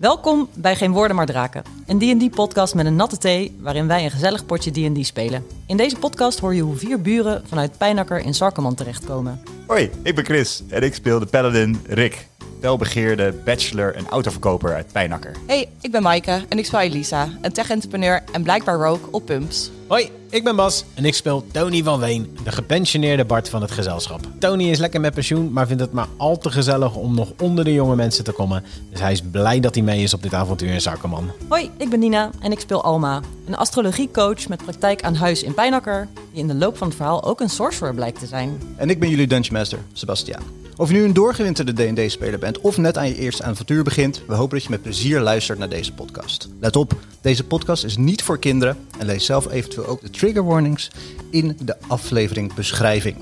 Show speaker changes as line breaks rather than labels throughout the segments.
Welkom bij Geen Woorden Maar Draken, een D&D-podcast met een natte thee waarin wij een gezellig potje D&D spelen. In deze podcast hoor je hoe vier buren vanuit Pijnakker in Sarkeman terechtkomen.
Hoi, ik ben Chris en ik speel de paladin Rick, welbegeerde bachelor en autoverkoper uit Pijnakker.
Hey, ik ben Maaike en ik speel Elisa, een tech-entrepreneur en blijkbaar rook op Pumps.
Hoi, ik ben Bas en ik speel Tony van Ween, de gepensioneerde Bart van het gezelschap. Tony is lekker met pensioen, maar vindt het maar al te gezellig om nog onder de jonge mensen te komen. Dus hij is blij dat hij mee is op dit avontuur in Zakkerman.
Hoi, ik ben Nina en ik speel Alma, een astrologiecoach met praktijk aan huis in Pijnakker, die in de loop van het verhaal ook een sorcerer blijkt te zijn.
En ik ben jullie Dungeon Master, Sebastiaan. Of je nu een doorgewinterde D&D-speler bent of net aan je eerste avontuur begint, we hopen dat je met plezier luistert naar deze podcast. Let op, deze podcast is niet voor kinderen en lees zelf eventueel ook de trigger warnings in de aflevering beschrijving.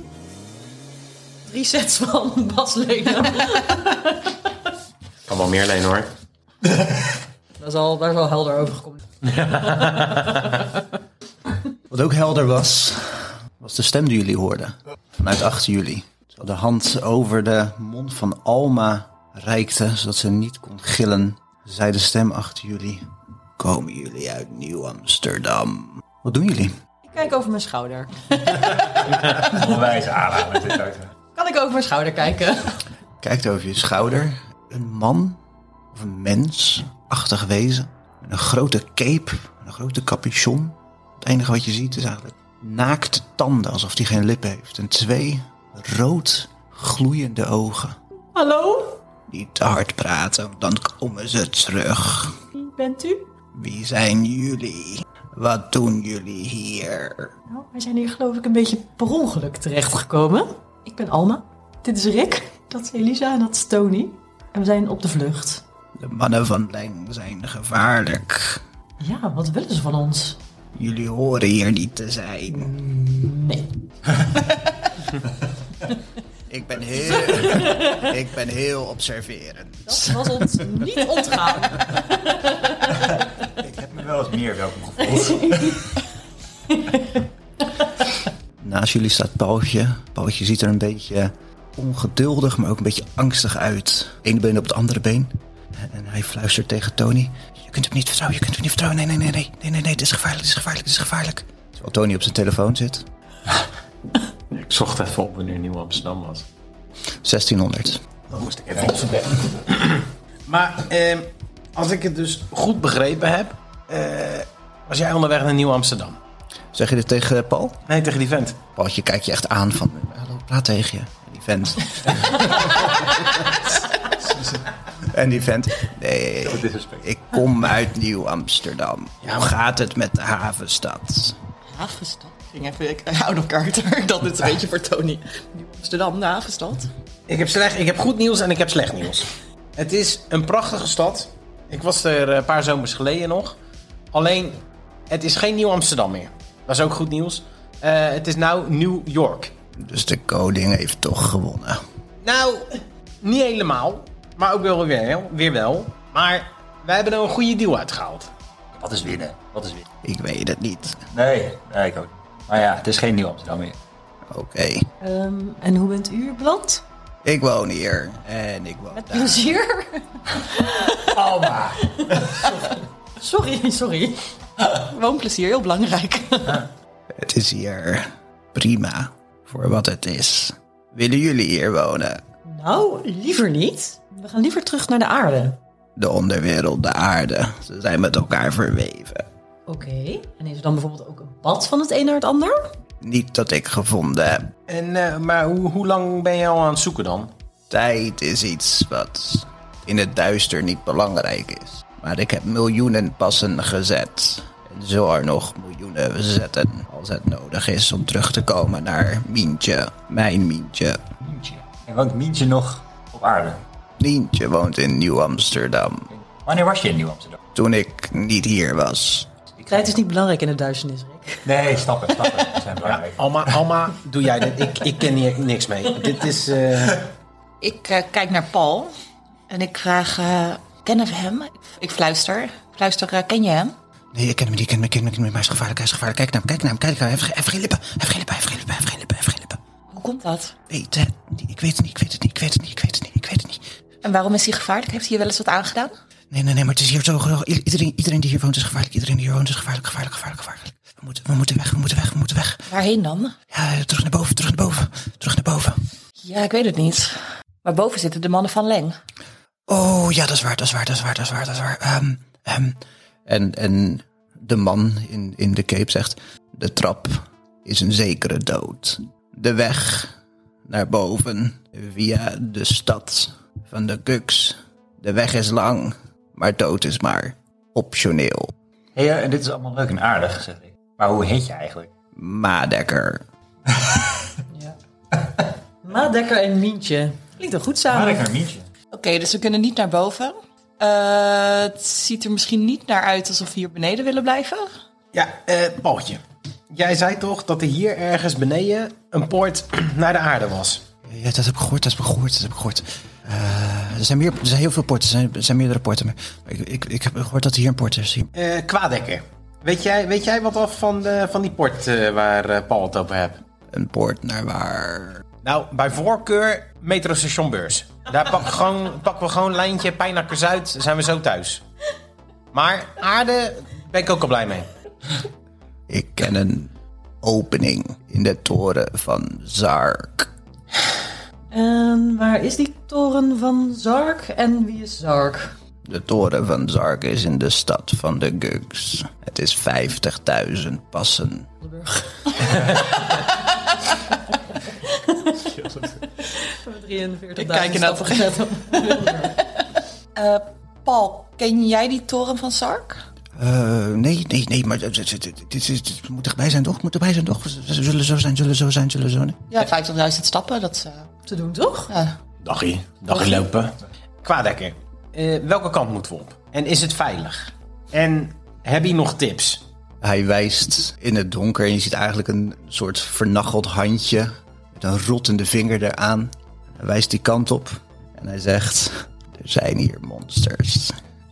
Drie sets van Bas
Kan wel meer leen hoor.
Dat is al, daar is al helder over gekomen.
Wat ook helder was, was de stem die jullie hoorden vanuit achter jullie. Terwijl de hand over de mond van Alma reikte, zodat ze niet kon gillen, zei de stem achter jullie. Komen jullie uit Nieuw-Amsterdam? Wat doen jullie?
Ik kijk over mijn schouder.
Onwijs aanraden met dit uit.
Kan ik over mijn schouder kijken?
kijkt over je schouder. Een man of een mens, achtig wezen. Met een grote cape, een grote capuchon. Het enige wat je ziet is eigenlijk naakte tanden, alsof hij geen lippen heeft. En twee rood gloeiende ogen.
Hallo,
Niet te hard praten, want dan komen ze terug.
wie bent u?
Wie zijn jullie? Wat doen jullie hier?
Nou, wij zijn hier geloof ik een beetje per ongeluk terechtgekomen. Ik ben Alma. Dit is Rick. Dat is Elisa en dat is Tony. En we zijn op de vlucht.
De mannen van Leng zijn gevaarlijk.
Ja, wat willen ze van ons?
Jullie horen hier niet te zijn.
Nee.
Ik ben heel, ik ben heel observerend.
Dat was ons niet ontgaan.
Ik heb me wel eens meer welkom gevoeld.
Naast jullie staat Paultje. Paultje ziet er een beetje ongeduldig, maar ook een beetje angstig uit. Eén been op het andere been. En hij fluistert tegen Tony. Je kunt hem niet vertrouwen, je kunt hem niet vertrouwen. Nee, nee, nee, nee, nee, nee, nee, het is gevaarlijk, het is gevaarlijk, het is gevaarlijk. Terwijl Tony op zijn telefoon zit.
Ik zocht even op wanneer Nieuw Amsterdam was.
1600.
Maar ehm, als ik het dus goed begrepen heb, eh, was jij onderweg naar Nieuw Amsterdam?
Zeg je dit tegen Paul?
Nee, tegen die vent.
Paultje kijkt je echt aan van... "Eh, Hallo, praat tegen je. En die vent... en die vent... Nee, ik kom uit Nieuw-Amsterdam. Hoe gaat het met de havenstad?
Havenstad. Ging even ik, out of character. Dat is een beetje voor Tony. Nieuw Amsterdam, de havenstad.
Ik heb, slecht, ik heb goed nieuws en ik heb slecht nieuws. Het is een prachtige stad. Ik was er een paar zomers geleden nog. Alleen, het is geen Nieuw Amsterdam meer. Dat is ook goed nieuws. Eh, het is nou New York.
Dus de koning heeft toch gewonnen.
Nou, niet helemaal. Maar ook wel weer, weer wel. Maar wij hebben er een goede deal uitgehaald.
Wat is winnen? Wat is winnen?
Ik weet het niet.
Nee, nee, ik ook niet. Maar ja, het is geen Nieuw Amsterdam meer.
Oké.
en hoe bent u hier beland?
Ik woon hier. En ik woon daar.
Plezier.
Alma!
Sorry, sorry.
Woonplezier, heel belangrijk.
Het is hier prima voor wat het is. Willen jullie hier wonen?
Nou, liever niet. We gaan liever terug naar de aarde.
De onderwereld, de aarde. Ze zijn met elkaar verweven.
Oké. En is er dan bijvoorbeeld ook een pad van het een naar het ander?
Niet dat ik gevonden heb.
En, eh, maar hoe, hoe lang ben je al aan het zoeken dan?
Tijd is iets wat in het duister niet belangrijk is. Maar ik heb miljoenen passen gezet. En zal er nog miljoenen zetten als het nodig is om terug te komen naar Mientje. Mijn Mientje.
Mientje. En woont Mientje nog op aarde?
Mientje woont in Nieuw-Amsterdam.
Wanneer was je in Nieuw Amsterdam?
Toen ik niet hier was.
Tijd is niet belangrijk in de duisternis, Rick.
Nee, stappen, stappen. Dat zijn belangrijk.
Alma, Alma doe jij dit. Ik, ik ken hier niks mee. Dit is... eh,
Ik eh, kijk naar Paul en ik vraag, eh, kennen we hem? Ik fluister. Ik fluister, eh, ken je hem?
Nee, ik ken hem niet, ik ken hem, ik ken hem, ik ken hem. Hij is gevaarlijk, hij is gevaarlijk. Kijk naar hem, kijk naar hem, kijk naar hem. Hij heeft ge- hij heeft geen lippen, hij heeft geen lippen, hij heeft geen lippen, hij heeft geen lippen, hij heeft geen lippen.
Hoe komt dat?
Weet het niet, ik weet het niet, ik weet het niet, ik weet het niet, ik weet het niet, ik weet het niet.
En waarom is hij gevaarlijk? Heeft hij je wel eens wat aangedaan?
Nee, nee, nee, maar het is hier zo geweldig. I- Iedereen, iedereen die hier woont is gevaarlijk. Iedereen die hier woont is gevaarlijk, gevaarlijk, gevaarlijk, gevaarlijk. We moeten, we moeten weg, we moeten weg, we moeten weg.
Waarheen dan?
Ja, terug naar boven, terug naar boven, terug naar boven.
Ja, ik weet het niet. Maar boven zitten de mannen van Leng.
Oh ja, dat is waar, dat is waar, dat is waar, dat is waar, dat is waar. Ehm, ehm. En, en de man in, in de cape zegt: De trap is een zekere dood. De weg naar boven via de stad van de Guks. De weg is lang, maar dood is maar optioneel.
Hé, eh, dit is allemaal leuk en aardig, zeg ik. Maar hoe heet je eigenlijk?
Madekker.
Maadekker en Mientje. Klinkt toch goed samen?
Marek Mietje.
Oké, dus we kunnen niet naar boven. Eh, het ziet er misschien niet naar uit alsof we hier beneden willen blijven.
Ja, eh, Paultje. Jij zei toch dat er hier ergens beneden een poort naar de aarde was?
Ja, dat heb ik gehoord, dat heb ik gehoord, dat heb ik gehoord. Eh, er, zijn meer, er zijn heel veel porten, er zijn, er zijn meerdere porten. Maar ik, ik, ik heb gehoord dat hier een port is. Hier-
Eh Kwadekker. Weet jij, weet jij wat af van, de, van die port eh, waar eh, Paul het over hebt?
Een poort naar waar?
Nou, bij voorkeur metrostation beurs. Daar pak gewoon, pakken we gewoon lijntje pijnakkers uit, zijn we zo thuis. Maar aarde ben ik ook al blij mee.
Ik ken een opening in de toren van Zark.
En waar is die toren van Zark? En wie is Zark?
De toren van Zark is in de stad van de Gugs. Het is 50.000 passen.
Ik nou-
kijk inderdaad Eh, Paul, ken jij die toren van Sark?
Eh, nee, nee, nee, maar dit, dit, dit- dit- dit- dit moet erbij zijn, toch? Moet erbij zijn, toch? Z- z- Zullen zo zijn, zullen zo zijn, zullen zo zijn.
Ja, 50.000 stappen, dat is... eh,
te doen, toch?
ja.
Dagje, dagje lopen. Kwadekker, eh, welke kant moeten we op? En is het veilig? En heb je nog tips?
Hij wijst in het donker en je ziet eigenlijk een soort vernacheld handje met een rottende vinger eraan. Hij wijst die kant op en hij zegt: Er zijn hier monsters.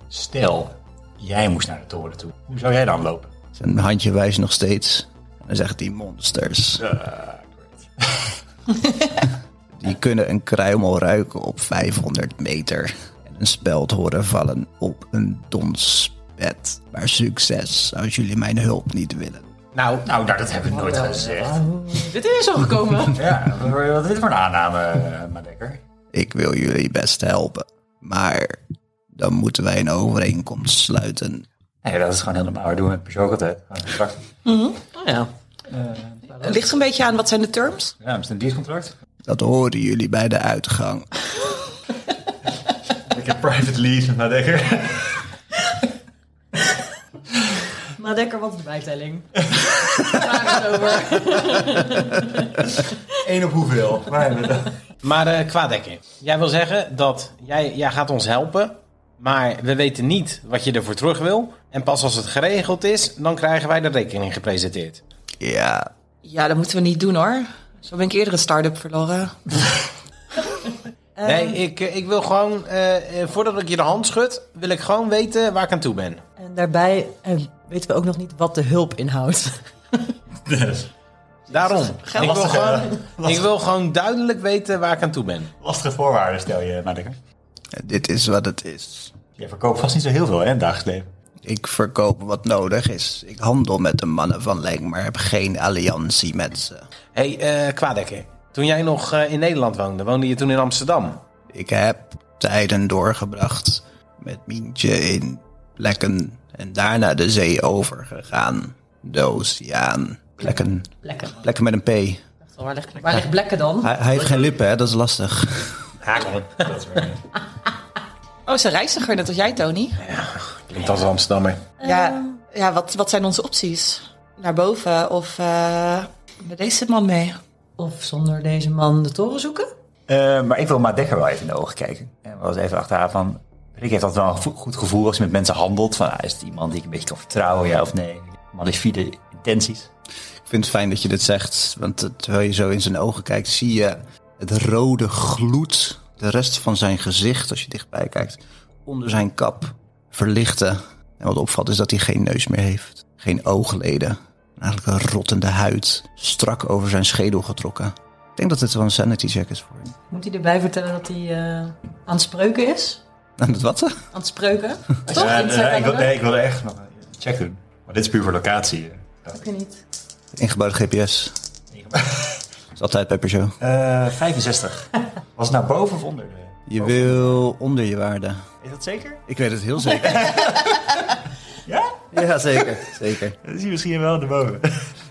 Stel, jij moest naar de toren toe. Hoe zou jij dan lopen?
Zijn handje wijst nog steeds. En dan zegt hij monsters. die kunnen een kruimel ruiken op 500 meter. En een speld horen vallen op een donsbed. Maar succes als jullie mijn hulp niet willen.
Nou,
Nou, nou, dat heb ik nooit gezegd.
Dit is al gekomen.
Ja, wat is dit voor een aanname, eh, Madekker?
Ik wil jullie best helpen. Maar dan moeten wij een overeenkomst sluiten.
Nee, dat is gewoon heel normaal. We doen we met persoon altijd. Gewoon een contract.
Oh ja.
Ligt een beetje aan, wat zijn de terms?
Ja, is het een dienstcontract?
Dat horen jullie bij de uitgang.
Ik heb private lease met Madekker.
Maadekker, wat is de bijtelling? Daar is het over.
Eén op hoeveel? Waar hebben we dat?
Maar eh Kwadekker, jij wil zeggen dat jij, jij gaat ons helpen, maar we weten niet wat je ervoor terug wil. En pas als het geregeld is, dan krijgen wij de rekening gepresenteerd.
Ja,
Ja, dat moeten we niet doen hoor. Zo ben ik eerder een start-up verloren.
Nee, ik, eh, ik wil gewoon, eh, eh, voordat ik je de hand schud, wil ik gewoon weten waar ik aan toe ben.
En daarbij eh, weten we ook nog niet wat de hulp inhoudt.
Daarom. Ik wil,
Lastig, eh,
gewoon, ik wil gewoon duidelijk weten waar ik aan toe ben.
Lastige voorwaarden stel je, Madekker.
dit is wat het is.
Je verkoopt vast niet zo heel veel, hè, in het dagelijks leven.
Ik verkoop wat nodig is. Ik handel met de mannen van Leng, maar heb geen alliantie met ze.
Hé, hey, Kwadekker, toen jij nog eh, in Nederland woonde, woonde je toen in Amsterdam?
Ik heb tijden doorgebracht met Mientje in plekken en daarna de zee overgegaan. De oceaan. Plekken.
Plekken.
Plekken met een P. Hij,
Waar ligt, waar ligt Blekken dan?
hij heeft geen lippen, hè? dat is lastig.
Dat is waar.
Oh, ze reiziger, net als jij, Tony.
Klinkt als Amsterdammer.
Ja, ja wat, wat zijn onze opties? Naar boven of eh, met deze man mee?
Of zonder deze man de toren zoeken?
Eh, maar ik wil Madekker wel even in de ogen kijken. En wel eens even achterhalen van... Rick heeft altijd wel een gevo- goed gevoel als hij met mensen handelt. Van, ah, is het iemand die ik een beetje kan vertrouwen, ja of nee? Malefide intenties.
Ik vind het fijn dat je dit zegt, want eh, terwijl je zo in zijn ogen kijkt, zie je het rode gloed, de rest van zijn gezicht, als je dichtbij kijkt, onder zijn kap verlichten. En wat opvalt is dat hij geen neus meer heeft, geen oogleden, en eigenlijk een rottende huid, strak over zijn schedel getrokken. Ik denk dat dit wel een sanity check is voor hem.
Moet hij erbij vertellen dat hij eh, aan het spreuken is?
Aan het watten?
Aan het spreuken. Toch?
Ja,
Iets
nee, nee, ik wil,
zeggen?
nee, ik wilde echt nog een check doen. Maar dit is puur voor locatie.
Ook weer niet.
Ingebouwde GPS. Dat is altijd bij Peugeot.
Eh 65. Was het nou boven of onder? de-
Je wil onder je waarde.
Is dat zeker?
Oh. Ik weet het heel zeker.
Ja?
ja, zeker. zeker.
Dat is hier misschien wel erboven.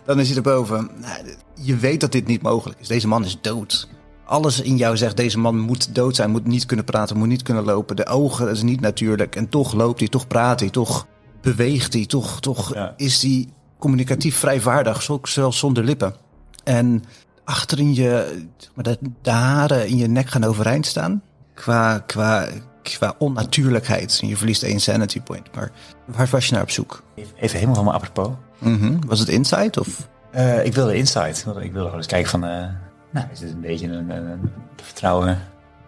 Dan is hij erboven. Nou, d- je weet dat dit niet mogelijk is. Deze man is dood. Alles in jou zegt, deze man moet dood zijn, moet niet kunnen praten, moet niet kunnen lopen. De ogen, dat is niet natuurlijk. En toch loopt hij, toch praat hij, toch beweegt hij, toch, toch
Ja.
is hij communicatief vrijvaardig, zo- zelfs zonder lippen. En achterin je, zeg maar, de, de haren in je nek gaan overeind staan. Qua, qua, qua onnatuurlijkheid. Je verliest één sanity point. Maar waar was je naar op zoek?
Even, even helemaal van me apropos.
Mhm. Was het insight of
Eh, ik wilde insight. want Ik wilde gewoon eens kijken van... eh, nou, is dit een beetje een, een, een te vertrouwen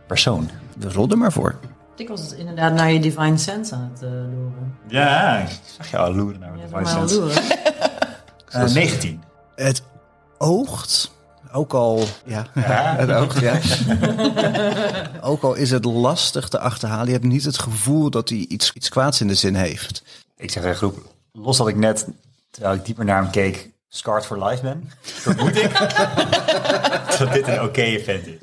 persoon?
We rolden maar voor.
Ik was dus inderdaad naar je Divine Sense aan het eh, loeren.
Ja, ik zag je al loeren naar
Ja,
de
voor mij
Vice
aan het
Sense.
loeren.
Eh, 19.
Het oogt, ook al, ja, het oogt, ja. ook al is het lastig te achterhalen. Je hebt niet het gevoel dat hij iets, iets kwaads in de zin heeft.
Ik zeg tegen de groep, los dat ik net, terwijl ik dieper naar hem keek, scarred for life ben, vermoed ik dat dit een oké vent is.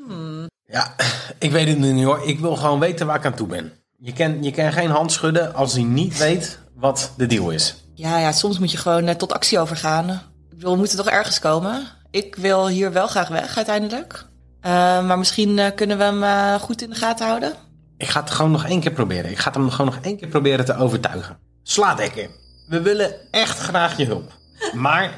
Ja, ik weet het nu niet hoor. Ik wil gewoon weten waar ik aan toe ben. Je kan, je kan geen hand schudden als hij niet weet wat de deal is.
Ja, ja, soms moet je gewoon eh, tot actie overgaan. Ik bedoel, we moeten toch ergens komen. Ik wil hier wel graag weg uiteindelijk. Eh, maar misschien eh, kunnen we hem eh, goed in de gaten houden.
Ik ga het gewoon nog één keer proberen. Ik ga hem gewoon nog één keer proberen te overtuigen. Sla dekken. We willen echt graag je hulp. Maar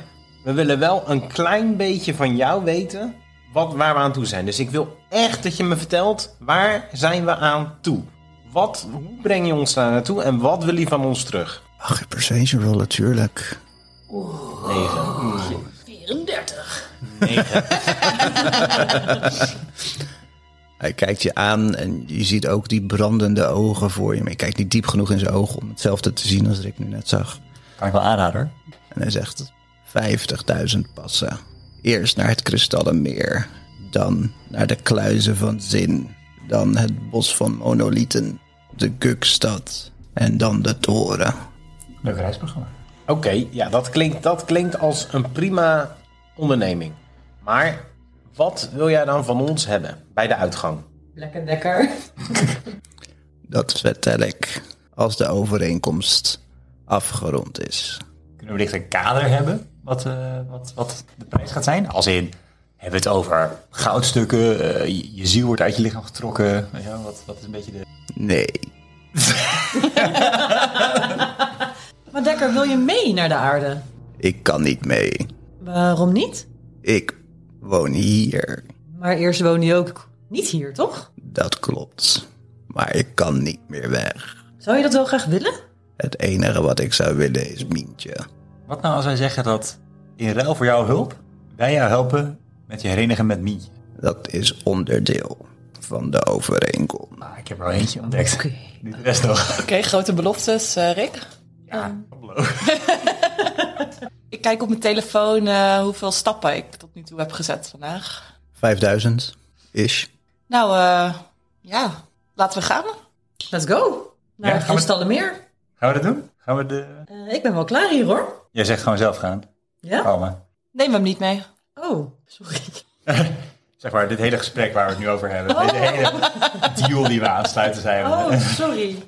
we willen wel een klein beetje van jou weten wat, waar we aan toe zijn. Dus ik wil echt dat je me vertelt waar zijn we aan toe. Wat, hoe breng je ons daar naartoe en wat wil je van ons terug?
Ach, je persuasion roll natuurlijk.
34.
Hij kijkt je aan en je ziet ook die brandende ogen voor je. Maar je kijkt niet diep genoeg in zijn ogen om hetzelfde te zien als Rick nu net zag.
Kan ik wel aanraden hoor.
En hij zegt 50.000 passen. Eerst naar het kristallenmeer, dan naar de kluizen van Zin, dan het bos van monolieten, de Gukstad en dan de toren.
Leuk reisprogramma.
Oké, ja, dat klinkt, dat klinkt als een prima onderneming. Maar wat wil jij dan van ons hebben bij de uitgang?
Lekker dekker.
Dat vertel ik als de overeenkomst afgerond is.
Kunnen we wellicht een kader hebben wat, eh, wat, wat de prijs gaat zijn? Als in, hebben we het over goudstukken, eh, je, je ziel wordt uit je lichaam getrokken. weet je wel, wat, wat is een beetje de...
Nee,
Maar dekker, wil je mee naar de aarde?
ik kan niet mee.
Waarom niet?
Ik woon hier.
Maar eerst woonde je ook niet hier, toch?
Dat klopt. Maar ik kan niet meer weg.
Zou je dat wel graag willen?
Het enige wat ik zou willen is Mientje.
Wat nou als wij zeggen dat in ruil voor jouw hulp, wij jou helpen met je herenigen met Mie?
Dat is onderdeel van de overeenkomst.
Nou, ik heb er al eentje ontdekt.
Oké.
Niet de rest nog.
Oké, grote beloftes, eh, Rick.
Ja,
Ik kijk op mijn telefoon eh, hoeveel stappen ik tot nu toe heb gezet vandaag.
5000 ish.
Nou, eh, ja, laten we gaan.
Let's go. Naar
Ja,
het
gaan we-
Kristallenmeer.
Gaan we dat doen? Gaan we de...
Eh, ik ben wel klaar hier, hoor.
Jij zegt gewoon zelf gaan.
Ja?
Alma.
Neem hem niet mee.
Oh, sorry.
Zeg maar, dit hele gesprek waar we het nu over hebben. Deze hele deal die we aansluiten zijn.
Oh, sorry.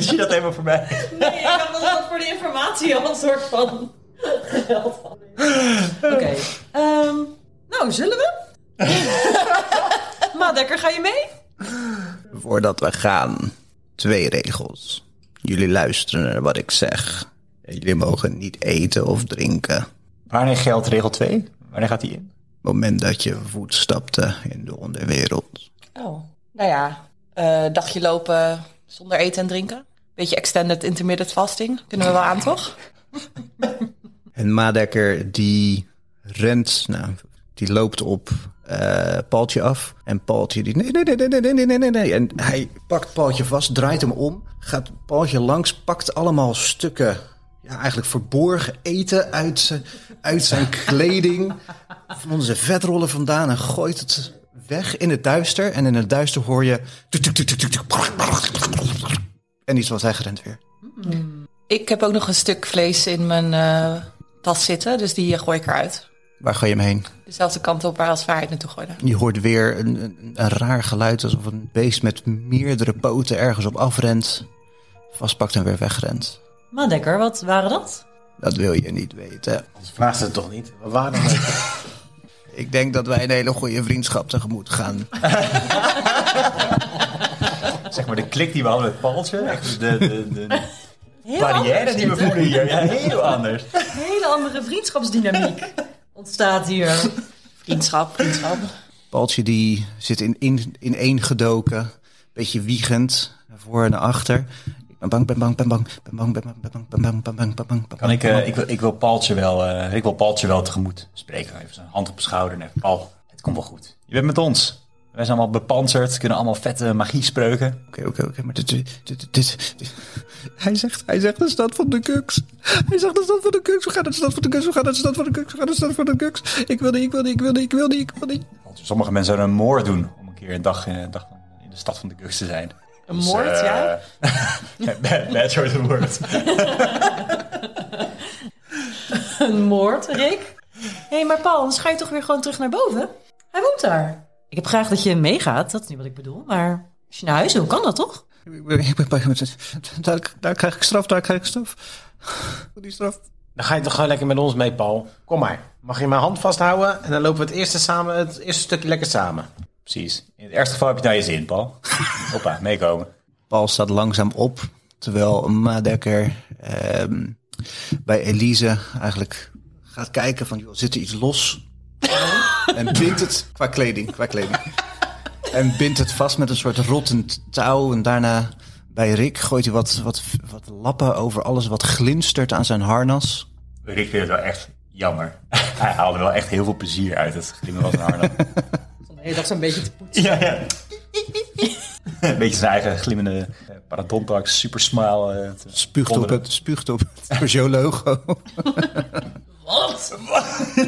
Zie je dat helemaal voorbij?
Nee, ik had nog wat voor de informatie al een soort van geld van. Oké. ehm, nou, zullen we? Maadekker, ga je mee?
Voordat we gaan, twee regels. Jullie luisteren naar wat ik zeg. En Jullie mogen niet eten of drinken. Op
Wanneer geldt regel 2? Wanneer gaat die in?
het moment dat je voetstapte in de onderwereld.
Oh, nou ja, eh, dagje lopen zonder eten en drinken. Beetje extended intermittent fasting. Kunnen we wel aan, toch?
En Madekker die rent, nou, die loopt op eh Paaltje af. En Paaltje die, nee, nee, nee, nee, nee, nee, nee, nee, nee. En hij pakt Paaltje vast, draait hem om, gaat Paaltje langs, pakt allemaal stukken ja, eigenlijk verborgen eten uit, zijn- uit zijn kleding. Van onze vetrollen vandaan en gooit het weg in het duister. En in het duister hoor je... En iets was hij gerend weer.
Ik heb ook nog een stuk vlees in mijn eh, tas zitten, dus die eh, gooi ik eruit.
Waar ga je hem heen?
Dezelfde kant op waar als waar hij het naartoe gooide.
Je hoort weer een, een, een raar geluid alsof een beest met meerdere poten ergens op afrent. Vastpakt en weer wegrent.
Madekker, wat waren dat?
Dat wil je niet weten.
Vraag het toch niet? We waren er.
Ik denk dat wij een hele goede vriendschap tegemoet gaan.
Zeg maar de klik die we hadden met Paltje. Echt de, de, de
Heel
barrière
anders
die we
dit, hè?
voelen hier. Ja, heel anders.
Een hele andere vriendschapsdynamiek ontstaat hier.
Vriendschap, vriendschap.
Paltje die zit in, in, in één gedoken. Beetje wiegend. Naar voor en naar achter. Ik ben bang, ben bang, ben bang. Ben bang, ben bang, ben bang, ben bang, ben bang, ben bang. ben
Kan ik,
bang,
eh, ik, wil- ik wil Paltje wel, eh, ik wil Paltje wel tegemoet spreken. Even zijn hand op zijn schouder en even, Paul, het komt wel goed. Je bent met ons. Wij zijn allemaal bepanserd, kunnen allemaal vette magie spreuken.
Oké, oké, oké. Maar dit, dit, dit, dit- dit- Hij zegt, hij zegt de stad van de kuks. Hij zegt de stad van de kuks. We gaan naar de stad van de kuks. We gaan naar de stad van de kuks. We gaan naar de stad van de kuks. Ik wil niet, ik wil niet, ik wil niet, ik wil niet, ik wil niet.
Sommige mensen zouden een moord doen om een keer een dag, eh, een dag in de stad van de Gugs te zijn.
Een moord, ja.
bad, bad choice of word.
Een moord, Rick. Hé, maar Paul, dan ga je toch weer gewoon terug naar boven? Hij woont daar. Ik heb graag dat je meegaat, dat is niet wat ik bedoel. Maar als je naar huis wil, kan dat toch?
Ik ben- Ik ben bang. Daar, daar krijg ik straf, daar krijg ik straf. Die straf.
Dan ga je toch gewoon lekker met ons mee, Paul. Kom maar. Mag je mijn hand vasthouden en dan lopen we het eerste, samen, het eerste stukje lekker samen.
Precies. In het ergste geval heb je het naar je zin, Paul. Hoppa, meekomen.
Paul staat langzaam op, terwijl Madekker ehm, bij Elise eigenlijk gaat kijken van, joh, zit er iets los? en bindt het, qua kleding, qua kleding. En bindt het vast met een soort rottend touw. En daarna bij Rick gooit hij wat, wat, wat lappen over alles wat glinstert aan zijn harnas.
Rick vindt het wel echt jammer. Hij haalde wel echt heel veel plezier uit het glimmen van zijn harnas.
Nee, dat is een beetje te poetsen.
Ja, ja. Een beetje zijn eigen glimmende eh, paradontax, super smile. eh, te-
Spuugt op
onder-
het, spuugt op het Peugeot-logo.
Wat?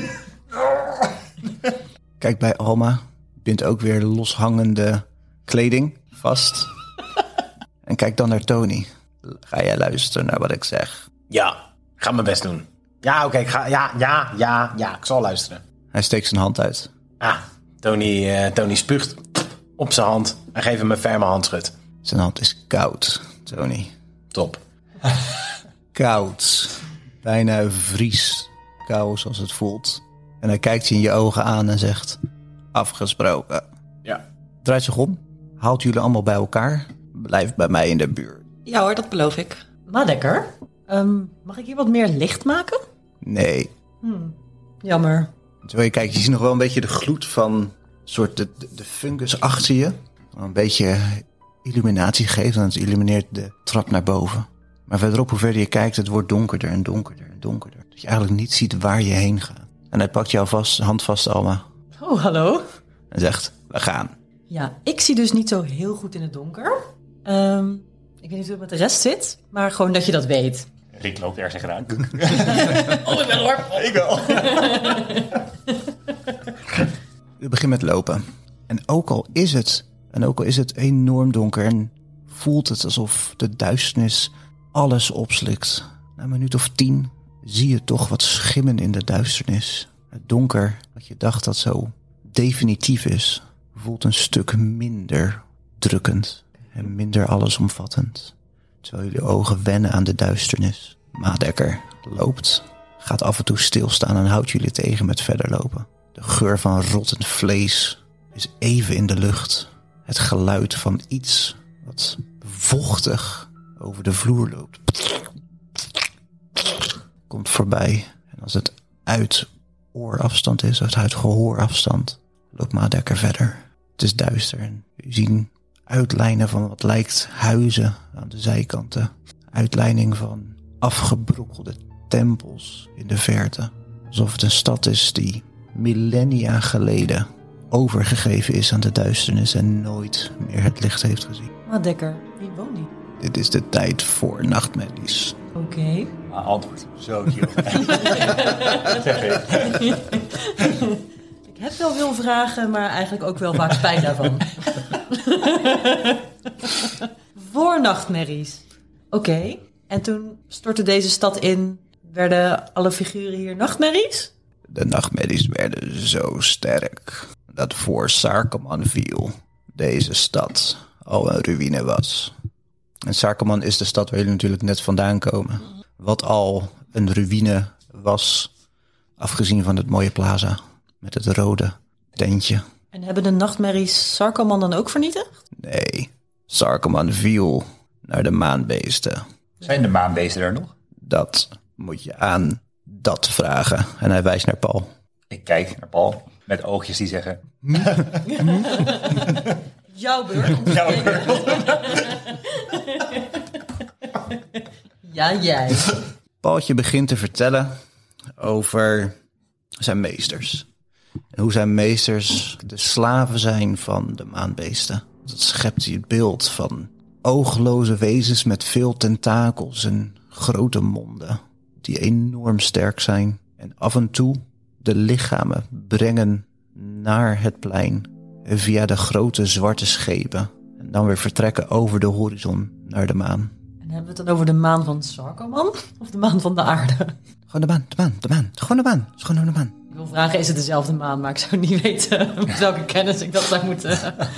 Kijk bij Alma. Bindt ook weer loshangende kleding vast. en kijk dan naar Tony. Ga jij luisteren naar wat ik zeg?
Ja, ik ga mijn best doen. Ja, oké. ik ga. ja, ja, ja, ja. Ik zal luisteren.
Hij steekt zijn hand uit.
Ah, Tony, eh, Tony spuugt op zijn hand en geeft hem een ferme handschud.
Zijn hand is koud, Tony.
Top.
Koud. Bijna vries. Koud zoals het voelt. En hij kijkt je in je ogen aan en zegt... Afgesproken.
Ja.
Draait zich om. Haalt jullie allemaal bij elkaar. Blijf bij mij in de buurt.
Ja hoor, dat beloof ik.
Nou, Madekker, ehm, mag ik hier wat meer licht maken?
Nee,
Jammer.
Terwijl je kijkt, je ziet nog wel een beetje de gloed van soort de, de, de fungus achter je. Een beetje illuminatie geeft en het illumineert de trap naar boven. Maar verderop, hoe verder je kijkt, het wordt donkerder en donkerder en donkerder. Dat je eigenlijk niet ziet waar je heen gaat. En hij pakt jou vast, hand vast, Alma,
Oh, hallo.
en zegt, we gaan.
Ja, ik zie dus niet zo heel goed in het donker. Ehm, ik weet niet hoe het met de rest zit, maar gewoon dat je dat weet.
Rick loopt ergens tegenaan.
Oh, ik ben hoor.
Ik wel.
We beginnen met lopen. En ook al is het, en ook al is het enorm donker en voelt het alsof de duisternis alles opslikt. Na een minuut of tien zie je toch wat schimmen in de duisternis. Het donker, wat je dacht dat zo definitief is, voelt een stuk minder drukkend en minder allesomvattend. Terwijl jullie ogen wennen aan de duisternis. Madekker loopt, gaat af en toe stilstaan en houdt jullie tegen met verder lopen. De geur van rottend vlees is even in de lucht. Het geluid van iets wat vochtig over de vloer loopt komt voorbij. En als het uit oorafstand is, of uit gehoorafstand, loopt Madekker verder. Het is duister en we zien uitlijnen van wat lijkt huizen aan de zijkanten. Uitlijning van afgebrokkelde tempels in de verte. Alsof het een stad is die millennia geleden overgegeven is aan de duisternis en nooit meer het licht
Nou,
heeft gezien.
Madekker, wie woont die?
Dit is de tijd voor nachtmerries.
Oké,
Maar antwoord.
Zo, Gio.
Zeg ik.
Ik heb wel veel vragen, maar eigenlijk ook wel vaak spijt daarvan. Voor nachtmerries. Oké, en toen stortte deze stad in. Werden alle figuren hier nachtmerries?
De nachtmerries werden zo sterk dat voor Sarkaman viel deze stad al een ruïne was. En Sarkaman is de stad waar jullie natuurlijk net vandaan komen. Wat al een ruïne was, afgezien van het mooie plaza met het rode tentje.
En hebben de nachtmerries Sarkoman dan ook vernietigd?
Nee, Sarkaman viel naar de maanbeesten.
Zijn de maanbeesten er nog?
Dat moet je aan dat vragen. En hij wijst naar Paul.
Ik kijk naar Paul met oogjes die zeggen...
Jouw beurt.
Nou,
Ja, jij.
Paultje begint te vertellen over zijn meesters. En hoe zijn meesters de slaven zijn van de maanbeesten. Dat schept hij het beeld van oogloze wezens met veel tentakels en grote monden. Die enorm sterk zijn. En af en toe de lichamen brengen naar het plein. Via de grote zwarte schepen. En dan weer vertrekken over de horizon naar de maan.
En hebben we het dan over de maan van Sarkoman? Of de maan van de aarde?
Gewoon de maan, de maan, de maan. Gewoon de maan. is Gewoon de maan.
Ik wil vragen, is het dezelfde maan? Maar ik zou niet weten met welke kennis ik dat zou moeten. hebben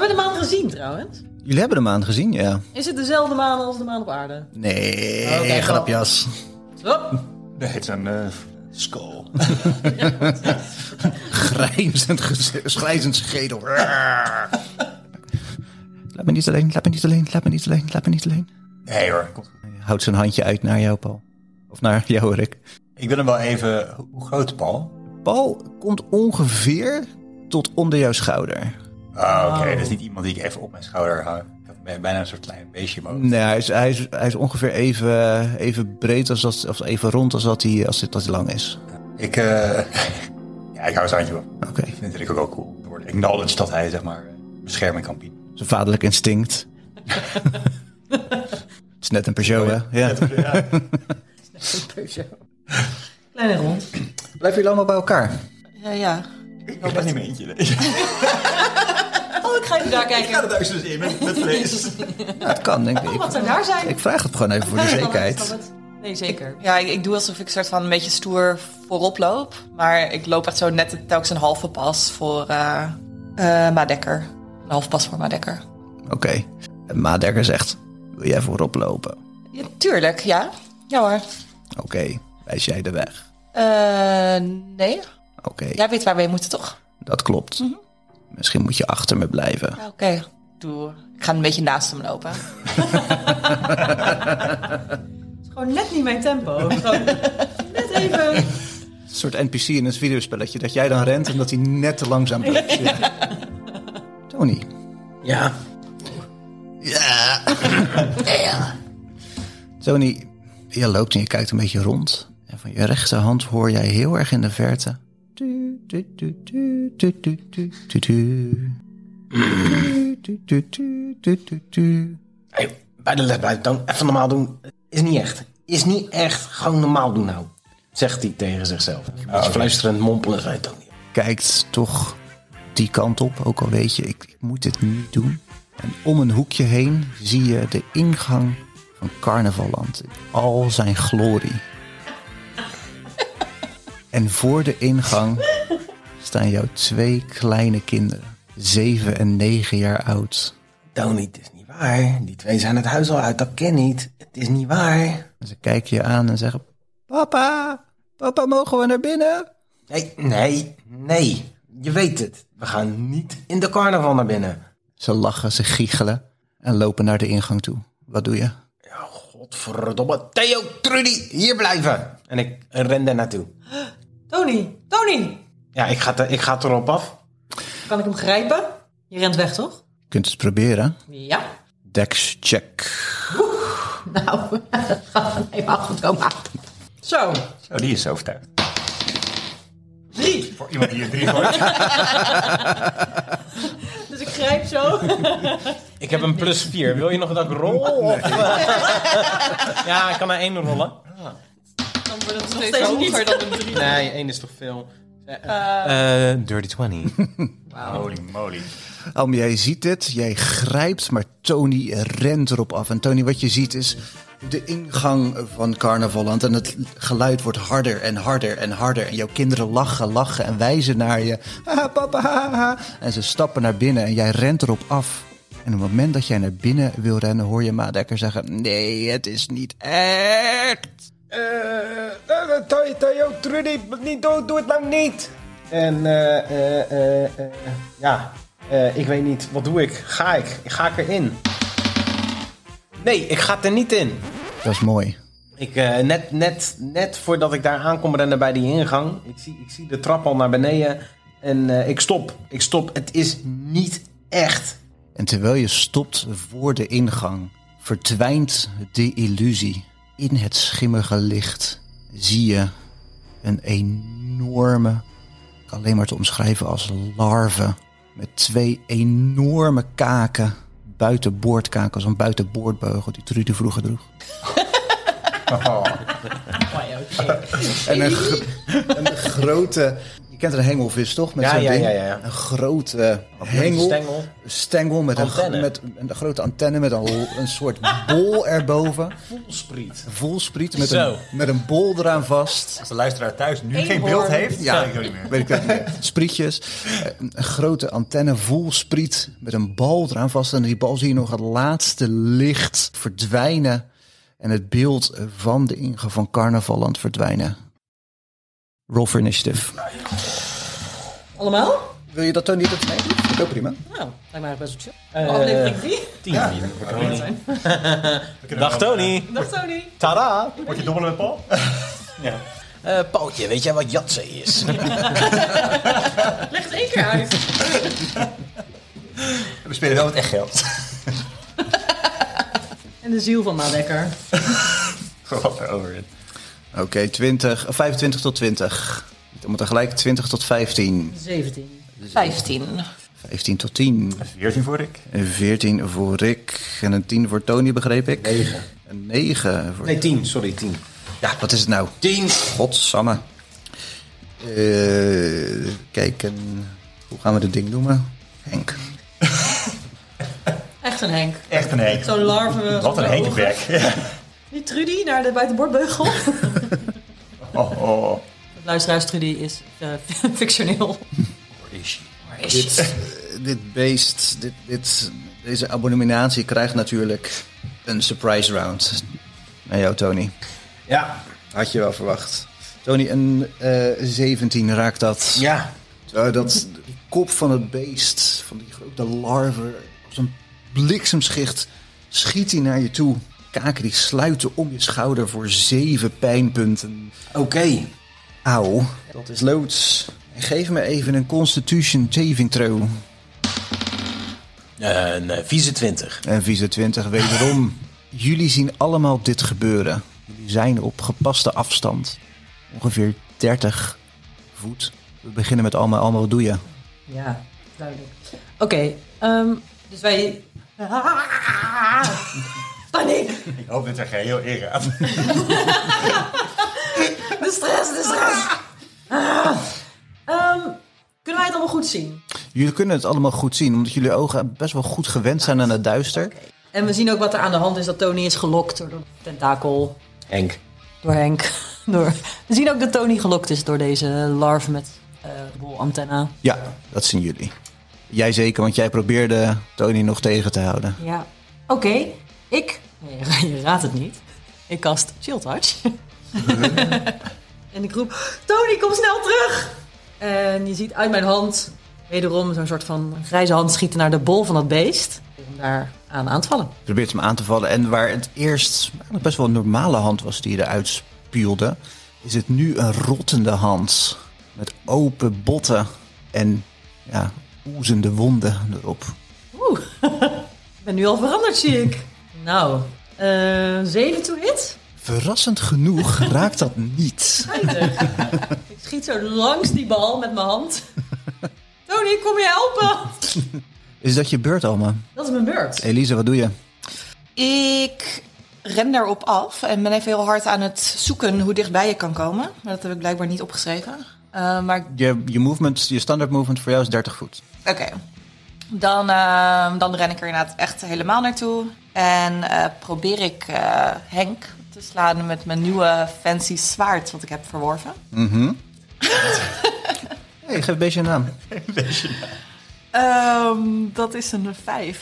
we de maan gezien trouwens?
Jullie hebben de maan gezien, ja.
Is het dezelfde maan als de maan op aarde?
Nee,
Oké,
grapjas.
Hop.
het is een... eh,
Skull. Grijzend, gez- grijzend schedel. laat me niet alleen, laat me niet alleen, laat me niet alleen, laat me niet alleen.
nee hoor, komt goed.
Hij Houdt zijn handje uit naar jou, Paul. Of naar jou, Rick.
Ik wil hem wel even... Hoe groot is Paul?
Paul komt ongeveer tot onder jouw schouder.
Ah,
Oh.
oké. Dat is niet iemand die ik even op mijn schouder hou. Ik had bij- bijna een soort klein beestje omhoog.
Nee, hij is, hij is, hij is ongeveer even, even breed als dat, of even rond als dat hij, als dit, dat hij lang is.
Ik, eh, ja, ik hou zijn handje op.
Oké.
Ik vind het ook wel cool. Er wordt acknowledged dat hij, zeg maar, bescherming kan bieden.
Zijn vaderlijk instinct. Het is net een Peugeot, hè? Ja.
Kleine rond.
Blijven jullie allemaal bij elkaar?
Ja, ja.
Ik ben niet mijn eentje. Ik
Oh, ik ga even daar kijken.
ga er thuis dus in met, met vlees.
Ja, het kan, denk ik.
Wat zou daar zijn?
Ik vraag het gewoon even voor de
Ja, dan
zekerheid.
is dat het. Nee, zeker.
Ja, ik, ik doe alsof ik soort van een beetje stoer voorop loop. Maar ik loop echt zo net telkens een halve pas voor eh eh, Madekker. Een halve pas voor Madekker.
Oké. En Madekker zegt, wil jij voorop lopen?
Ja, tuurlijk, ja. Ja hoor.
Oké, wijs jij de weg?
Eh, nee,
Oké,
jij weet waar we heen moeten, toch?
dat klopt.
Mhm.
Misschien moet je achter me blijven.
Ja, Oké, doe. Ik ga een beetje naast hem lopen.
Het is gewoon net niet mijn tempo. Gewoon net even.
Een soort NPC in het videospelletje, dat jij dan rent en dat hij net te langzaam blijft. Ja. Tony.
Ja,
Ja. Tony, je loopt en je kijkt een beetje rond. En van je rechterhand hoor jij heel erg in de verte. Tu, tu, tu, tu, tu, tu, tu, tu, tu. Tu, tu, tu, tu, tu, tu, tu.
hey, bij de les blijven toon. Even normaal doen. Is niet echt. Is niet echt. Gewoon normaal doen nou. Zegt hij tegen zichzelf. Een beetje fluisterend mompelen zei het ook niet.
Kijkt toch die kant op, ook al weet je, ik, ik moet dit niet doen. En om een hoekje heen zie je de ingang van Carnavalland in al zijn glorie. En voor de ingang staan jouw twee kleine kinderen, zeven en negen jaar oud.
Tony, het is niet waar. Die twee zijn het huis al uit. Dat ken niet. Het is niet waar.
En ze kijken je aan en zeggen: Papa, papa, mogen we naar binnen?
Nee, nee, nee. Je weet het. We gaan niet in de carnaval naar binnen.
Ze lachen, ze giechelen en lopen naar de ingang toe. Wat doe je?
Ja, godverdomme. Theo, Trudy, hier blijven. En ik ren daar naartoe.
Tony, Tony!
Ja, ik ga, te- ik ga erop af.
Kan ik hem grijpen? Je rent weg, toch?
Je kunt het proberen.
Ja.
Dex check.
Nou, dat gaat van helemaal goed komen. Zo,
Zo, Oh, die is zo overtuigd.
drie.
Voor iemand die een drie gooit.
Dus ik grijp zo.
Ik heb een plus 4. Wil je nog dat ik rol? Of, eh? ja, ik kan naar één rollen.
Dan wordt het nog steeds hoger dan een drie.
Nee, één is toch veel. Eh, eh, dirty 20.
Holy moly.
Alm, jij ziet dit, jij grijpt, maar Tony rent erop af. En Tony, wat je ziet is de ingang van Carnavalland. En het geluid wordt harder en harder en harder. En jouw kinderen lachen, lachen en wijzen naar je. Haha, papa, haha. En ze stappen naar binnen en jij rent erop af. En op het moment dat jij naar binnen wil rennen, hoor je Madekker zeggen... Nee, het is niet echt.
Eh, Tayo, Trudy, niet dood, doe het nou niet. En eh, eh, eh, eh, ja, Eh, ik weet niet, wat doe ik? Ga ik? Ga ik erin? Nee, ik ga er niet in.
Dat is mooi.
Ik, eh, net, net, net voordat ik daar aankom rennen bij die ingang, ik zie, ik zie de trap al naar beneden en eh, ik stop. Ik stop, het is niet echt.
En terwijl je stopt voor de ingang, verdwijnt de illusie. In het schimmige licht zie je een enorme, alleen maar te omschrijven als larve, met twee enorme kaken, buitenboordkaken, zo'n buitenboordbeugel die Trudy vroeger droeg.
Oh.
En een, gro- een grote, je kent een hengelvis toch? Met
Ja,
zo'n
ja,
ding?
ja, ja.
Een grote hengel
Stengel.
stengel met een,
Antenne.
gro- met een grote antenne met een, een soort bol erboven.
Voelspriet.
Volspriet met
Zo.
een, met een bol eraan vast.
Als de luisteraar thuis nu
Eén
geen
hoorn.
beeld heeft,
Ja.
ja. ik het niet meer.
Weet ik dat niet meer. Sprietjes. Eh, Een grote antenne vol spriet met een bal eraan vast. En die bal zie je nog het laatste licht verdwijnen. En het beeld van de ingang van carnaval aan het verdwijnen. Roll for initiative.
Allemaal?
Wil je dat dan niet opnemen? Dat is prima.
Nou, lijkt mij eigenlijk best wel chill. Oh, Aflevering 3.
Eh, Tien. Dag Tony.
Dag Tony.
Tada.
Word je dobbelen met Paul?
Eh Paultje, weet jij wat Jatse is?
Leg het één keer uit.
We spelen wel met echt geld.
En de ziel van Madekker.
Gewoon over het.
Oké, 20, eh, 25 tot 20. Niet Om tegelijk 20 tot 15.
17.
15.
15 tot 10.
14 voor ik.
Een 14 voor Rick. En een 10 voor Tony, begreep ik. 9. Een 9 voor...
Nee, tien. Sorry, tien.
Ja, wat is het nou?
Tien.
Godsamme. Eh kijken. Hoe gaan we dit ding noemen? Henk.
Echt een Henk.
Echt een henk.
Zo'n larve.
Wat
zo'n
een
ogen.
henkenwerk.
Die Trudy naar de buitenbordbeugel.
Oh, oh.
Luisteraars, Trudy is eh, fictioneel.
Eh, dit beest, dit, dit, deze abominatie krijgt natuurlijk een surprise round. Naar jou, Tony.
Ja.
Had je wel verwacht. Tony, een eh 17 raakt dat.
Ja.
Terwijl dat de kop van het beest, van die grote larve, als een bliksemschicht, schiet hij naar je toe. Kaken die sluiten om je schouder voor zeven pijnpunten.
Oké.
Auw, dat is loods. En geef me even een Constitution saving throw.
Een eh, vieze twintig.
En vieze 20 wederom. Jullie zien allemaal dit gebeuren. Jullie zijn op gepaste afstand. Ongeveer 30 voet. We beginnen met Alma. Alma, wat doe je?
Ja, duidelijk. Oké, ehm, dus wij... Ah, paniek!
Ik hoop dat er geheel in gaat.
De stress, de stress! Ah. Ehm, kunnen wij het allemaal goed zien?
Jullie kunnen het allemaal goed zien, omdat jullie ogen best wel goed gewend zijn aan het duister.
En we zien ook wat er aan de hand is, dat Tony is gelokt door de tentakel.
Henk.
Door Henk. Door. We zien ook dat Tony gelokt is door deze larve met eh bolantenna.
Ja, dat zien jullie. Jij zeker, want jij probeerde Tony nog tegen te houden.
Ja. Oké, ik... Nee, je raadt het niet. Ik kast Chill Touch. en ik roep, Tony, kom snel terug! En je ziet uit mijn hand wederom zo'n soort van grijze hand schieten naar de bol van dat beest. Om daar aan aan te vallen.
Je probeert hem aan te vallen. En waar het eerst eigenlijk best wel een normale hand was die je eruit spuwde, is het nu een rottende hand. Met open botten en ja, oezende wonden erop.
Oeh, ik ben nu al veranderd, zie ik. Nou, eh 7 to hit.
Verrassend genoeg raakt dat niet.
Schijtig. ik schiet zo langs die bal met mijn hand. Tony, kom je helpen?
Is dat je beurt, Alma?
Dat is mijn beurt.
Elise, wat doe je?
Ik ren daarop af en ben even heel hard aan het zoeken hoe dichtbij je kan komen. Maar dat heb ik blijkbaar niet opgeschreven. Eh, maar ik-
Je, je, movement, je standaard movement voor jou is 30 voet.
oké, dan, ehm, dan ren ik er inderdaad echt helemaal naartoe. En eh, probeer ik eh, Henk te slaan met mijn nieuwe fancy zwaard wat ik heb verworven.
hey, geef een beetje een naam.
Ehm, dat is een vijf.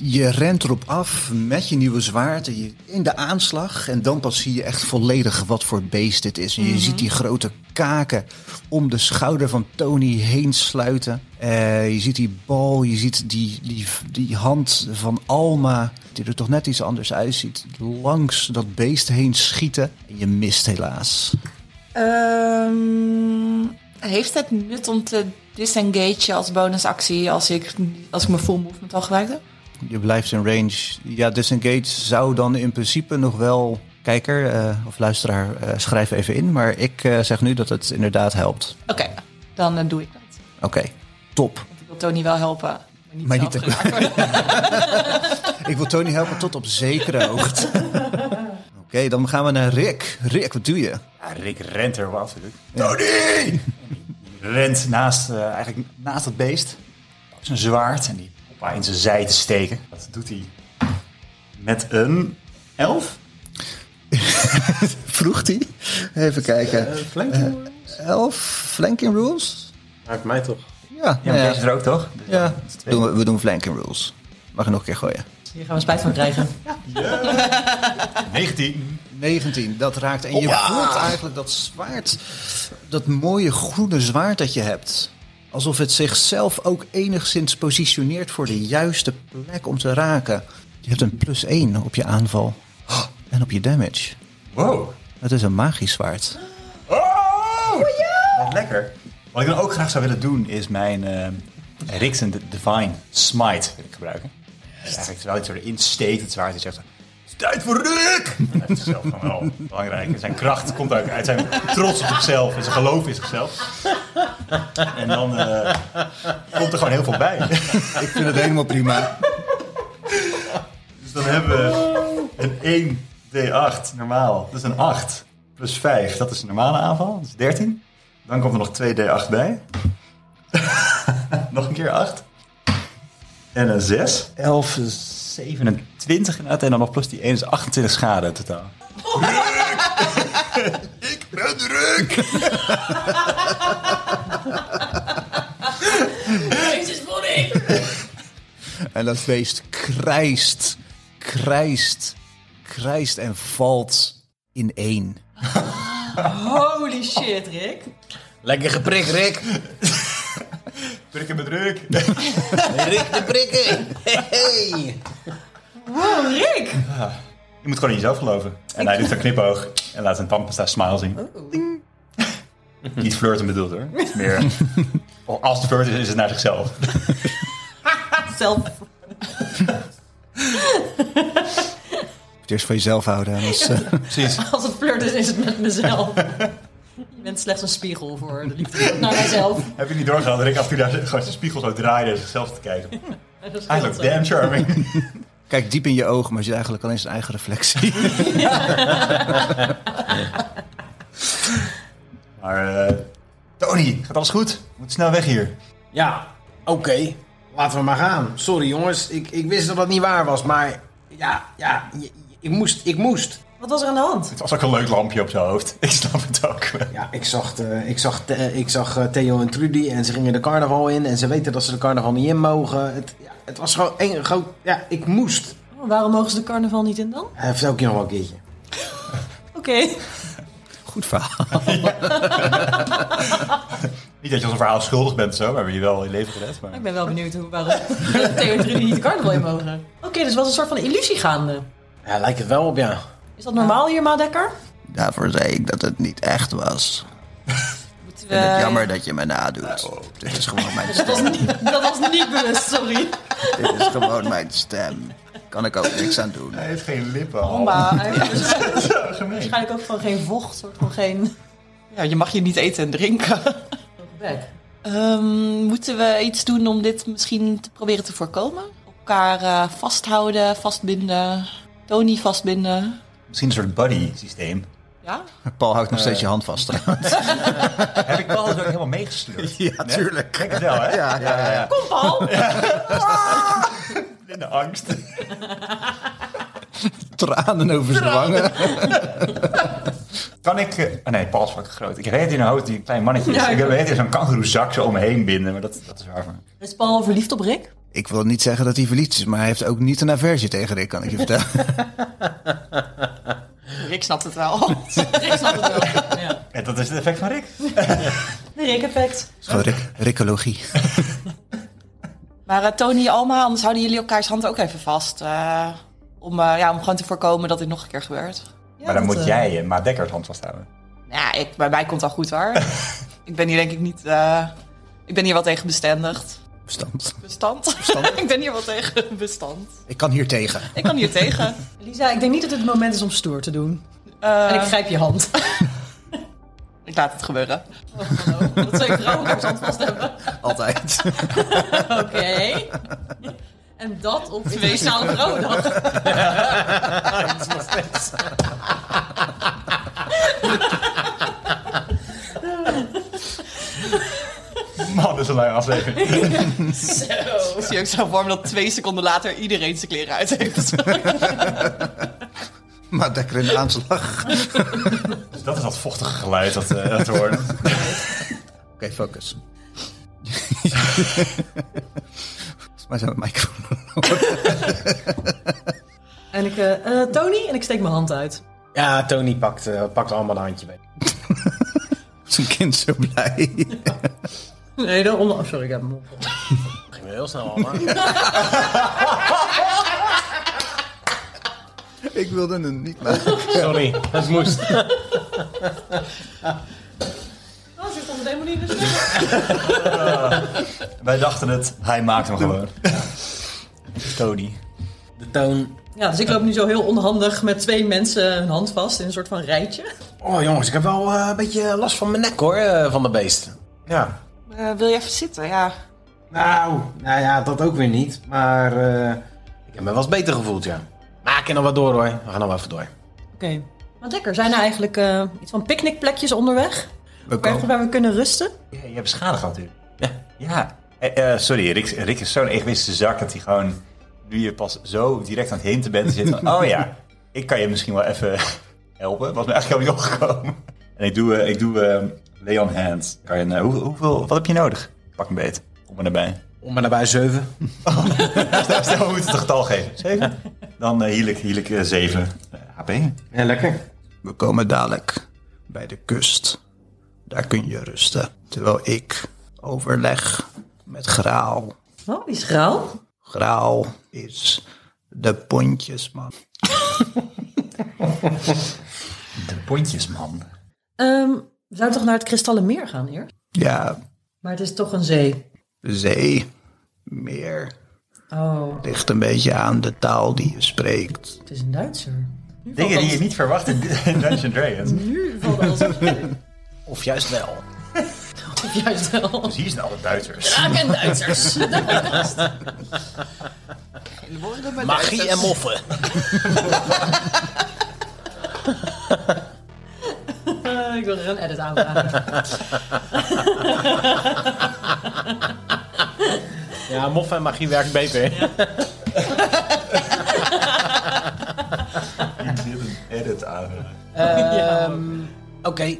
Je rent erop af met je nieuwe zwaard en je- in de aanslag. En dan pas zie je echt volledig wat voor beest dit is. En je ziet die grote kaken om de schouder van Tony heen sluiten. Eh, je ziet die bal, je ziet die, die, die hand van Alma, die er toch net iets anders uitziet. Langs dat beest heen schieten. En je mist helaas.
Ehm, heeft het nut om te disengage als bonusactie als ik, als ik mijn full movement al gebruikte?
Je blijft in range. Ja, disengage zou dan in principe nog wel... Kijker eh, of luisteraar, eh, schrijf even in. Maar ik eh, zeg nu dat het inderdaad helpt.
Oké, dan eh, doe ik dat.
Oké, top.
Want ik wil Tony wel helpen. Maar niet,
Maar
maar
niet te- Ik wil Tony helpen tot op zekere hoogte. Oké, dan gaan we naar Rick. Rick, wat doe je?
Ja, Rick rent er wat. Tony! rent naast, eh, eigenlijk naast dat beest. Pakt zijn zwaard en die op haar in zijn zij te steken. Dat doet hij met een elf.
Vroeg hij. Even
Eh,
kijken. Eh, Elf flanking rules?
Maakt mij toch.
Ja,
Ja,
nou
maar
ja.
deze er ook toch?
ja. Doen we, we doen flanking rules. Mag je nog een keer gooien.
Hier gaan we spijt van krijgen.
19.
19, dat raakt. En je voelt eigenlijk dat zwaard, dat mooie groene zwaard dat je hebt. Alsof het zichzelf ook enigszins positioneert voor de juiste plek om te raken. Je hebt een plus 1 op je aanval en op je damage.
Wow.
Het is een magisch zwaard.
Oh! Wat lekker. Wat ik dan ook graag zou willen doen is mijn eh Rick's and Divine Smite wil ik gebruiken. Dus eigenlijk terwijl hij het zo erin steekt, het zwaard, hij zegt zo, "Het is tijd voor Rick! En Dat is zelf gewoon wel belangrijk. En Zijn kracht komt ook uit zijn trots op zichzelf en zijn geloof in zichzelf. En dan eh, komt er gewoon heel veel bij.
Ik vind het helemaal prima.
Dus dan hebben we een 1d8 normaal. Dat is een 8 plus 5. Dat is een normale aanval. Dat is 13. Dan komt er nog 2d8 bij. nog een keer 8. En een 6. 11 is 27 inderdaad. En dan nog plus die 1 is 28 schade in totaal. Ik ben druk!
En dat beest krijst, krijst, krijst en valt in één.
Holy shit, Rick.
Lekker geprikt, Rick.
Druk en druk.
Rick de prikken. Hey.
Wow, Rick.
Je moet gewoon in jezelf geloven. En hij doet een knipoog en laat zijn tandpasta smile zien. Ding. Niet flirten bedoeld hoor. Het is meer. Oh, Als het flirt is, is het naar zichzelf.
Zelf.
Het eerst voor jezelf houden. anders, eh,
Precies.
Als het flirt is, is het met mezelf. Je bent slechts een spiegel voor de liefde naar mijzelf.
Heb je niet doorgehad dat ik af en toe daar gewoon zijn spiegel zo draaide en zichzelf te kijken?
Dat scheelt
Eigenlijk
zo.
damn charming.
kijk diep in je ogen, maar je ziet eigenlijk alleen zijn eigen reflectie.
Maar eh, Tony, gaat alles goed? Moet snel weg hier.
Ja, oké. Laten we maar gaan. Sorry jongens, ik, ik wist dat dat niet waar was, maar ja, ja, je- je- ik moest, ik moest.
Wat was er aan de hand?
Het was ook een leuk lampje op zijn hoofd. Ik snap het ook.
Ja, ik zag, eh, ik zag, eh, ik zag eh, Theo en Trudy en ze gingen de carnaval in en ze weten dat ze de carnaval niet in mogen. Het, ja, het was gewoon één groot, ja, ik moest.
Oh, waarom mogen ze de carnaval niet in dan?
Hij vertel ik je nog wel een keertje.
Oké.
Goed verhaal.
Niet dat je ons een verhaal schuldig bent of zo, maar we hebben je wel je leven gered. Maar...
Ik ben wel benieuwd hoe, waarom Theo en Trudy niet de carnaval in mogen. Oké, dus was een soort van illusie gaande.
Ja, lijkt het wel op, ja.
Is dat normaal hier, Maadekker?
Daarvoor zei ik dat het niet echt was.
Moeten
Ik vind het
we-
jammer dat je me nadoet. Dit is gewoon mijn
Dat
stem.
was niet, dat was niet bewust, sorry.
Dit is gewoon mijn stem. Kan ik ook niks aan doen.
Hij heeft geen lippen.
Oh.
Maar hij
eh,
heeft
Zo gemeen.
waarschijnlijk ook gewoon geen vocht, soort van geen
Ja, je mag je niet eten en drinken.
bek.
Ehm, moeten we iets doen om dit misschien te proberen te voorkomen? Elkaar eh, vasthouden, vastbinden, Tony vastbinden.
Misschien een soort buddy-systeem.
Ja?
Paul houdt nog steeds je hand vast.
Heb ik Paul dus ook helemaal meegesleurd?
ja, tuurlijk.
Gek het wel, hè?
Ja, ja, ja.
Kom Paul!
In de angst.
Tranen over zijn wangen.
Kan ik... eh, ah, nee, Paul is fucking groot. Ik weet in een hoofd die een klein mannetje is.
Ja,
ik
ik-
weet in zo'n kangeroezak zo om me heen binden. Maar dat, dat is waar voor me.
Is Paul verliefd op Rick?
Ik wil niet zeggen dat hij verliefd is, maar hij heeft ook niet een aversie tegen Rick, kan ik je vertellen.
Rick snapt het wel.
Rick snapt het wel. Ja.
En dat is het effect van Rick.
De Rick-effect.
Het is gewoon Rick, Rickologie.
Maar eh, Tony, Alma, anders houden jullie elkaars hand ook even vast. eh, om, eh, ja, om gewoon te voorkomen dat dit nog een keer gebeurt.
Ja,
maar dan
dat,
moet
eh,
jij eh, Maat Dekker het hand vasthouden.
Nou, ik, bij mij komt het al goed hoor. ik ben hier denk ik niet... eh, ik ben hier wel tegen bestendigd.
Bestand.
Bestand? ik ben hier wel tegen bestand.
Ik kan hier tegen.
Ik kan hier tegen.
Lisa, ik denk niet dat het het moment is om stoer te doen.
Eh,
En ik grijp je hand.
ik laat het gebeuren.
Dat twee vrouwen elkaar hand vast hebben.
Altijd.
Oké. En dat op twee zaal vrouwendag.
Man, dat is een lange aflevering.
Ik zie ook zo vorm dat twee seconden later iedereen zijn kleren uit heeft.
Maar Dekker in de aanslag. Oké,
Dus dat is dat vochtige geluid dat, eh dat we horen.
focus. Volgens mij zijn we microfoon.
En ik, eh, eh, Tony, en ik steek mijn hand uit.
Ja, Tony pakt, eh, pakt allemaal een handje bij.
Zijn kind zo blij.
Nee, dan onder... oh, sorry, ik heb hem op.
Ging wel heel snel allemaal.
ik wilde hem niet maken.
Sorry, dat moest.
Oh, zit onder de manier dus.
Wij dachten het, hij maakt hem gewoon. Tony.
De toon.
Ja, dus ik loop nu zo heel onhandig met twee mensen hun hand vast in een soort van rijtje.
Oh jongens, ik heb wel eh, een beetje last van mijn nek hoor, eh, van de beest. Ja.
Eh, wil je even zitten? Ja.
Nou, nou ja, dat ook weer niet. Maar eh, ik heb me wel eens beter gevoeld, ja. Maar ik kan nog wat door hoor. We gaan nog wel even door.
Oké. Maar lekker, zijn er eigenlijk eh, iets van picknickplekjes onderweg? Waar, waar we kunnen rusten?
Ja, je hebt beschadigd natuurlijk.
Ja.
Ja. Eh, eh, sorry, Rick, Rick is zo'n egoïstische zak dat hij gewoon... Nu je pas zo direct aan het hinten bent, zit van... oh ja, ik kan je misschien wel even helpen. Was me eigenlijk helemaal niet opgekomen. En ik doe, eh, ik doe eh, Leon Hand. Kan je, eh, hoe, hoeveel, wat heb je nodig? Pak een beet. Kom maar erbij.
Om maar daarbij zeven.
Stel, we moeten het een getal geven. Zeven? Dan eh hiel ik, hiel ik eh, zeven eh, HP.
Ja, lekker.
We komen dadelijk bij de kust. Daar kun je rusten. Terwijl ik overleg met Graal.
Oh, die is grauw.
Graal is de pontjesman.
De pontjesman.
Ehm, we zouden toch naar het Kristallenmeer gaan eerst?
Ja,
Maar het is toch een zee.
zee, meer.
Oh,
Ligt een beetje aan de taal die je spreekt.
het is een Duitser.
Dingen die je niet verwacht in in Dungeon Dragons.
Nu valt alles op.
Of juist wel.
Of juist wel.
Dus hier zijn alle Duitsers.
Ah, Ik ken Duitsers.
Magie en moffen.
Eh, ik wil er een edit aanvragen.
Ja, moffen en magie werkt beter.
edit aan. eh.
Ehm, Oké.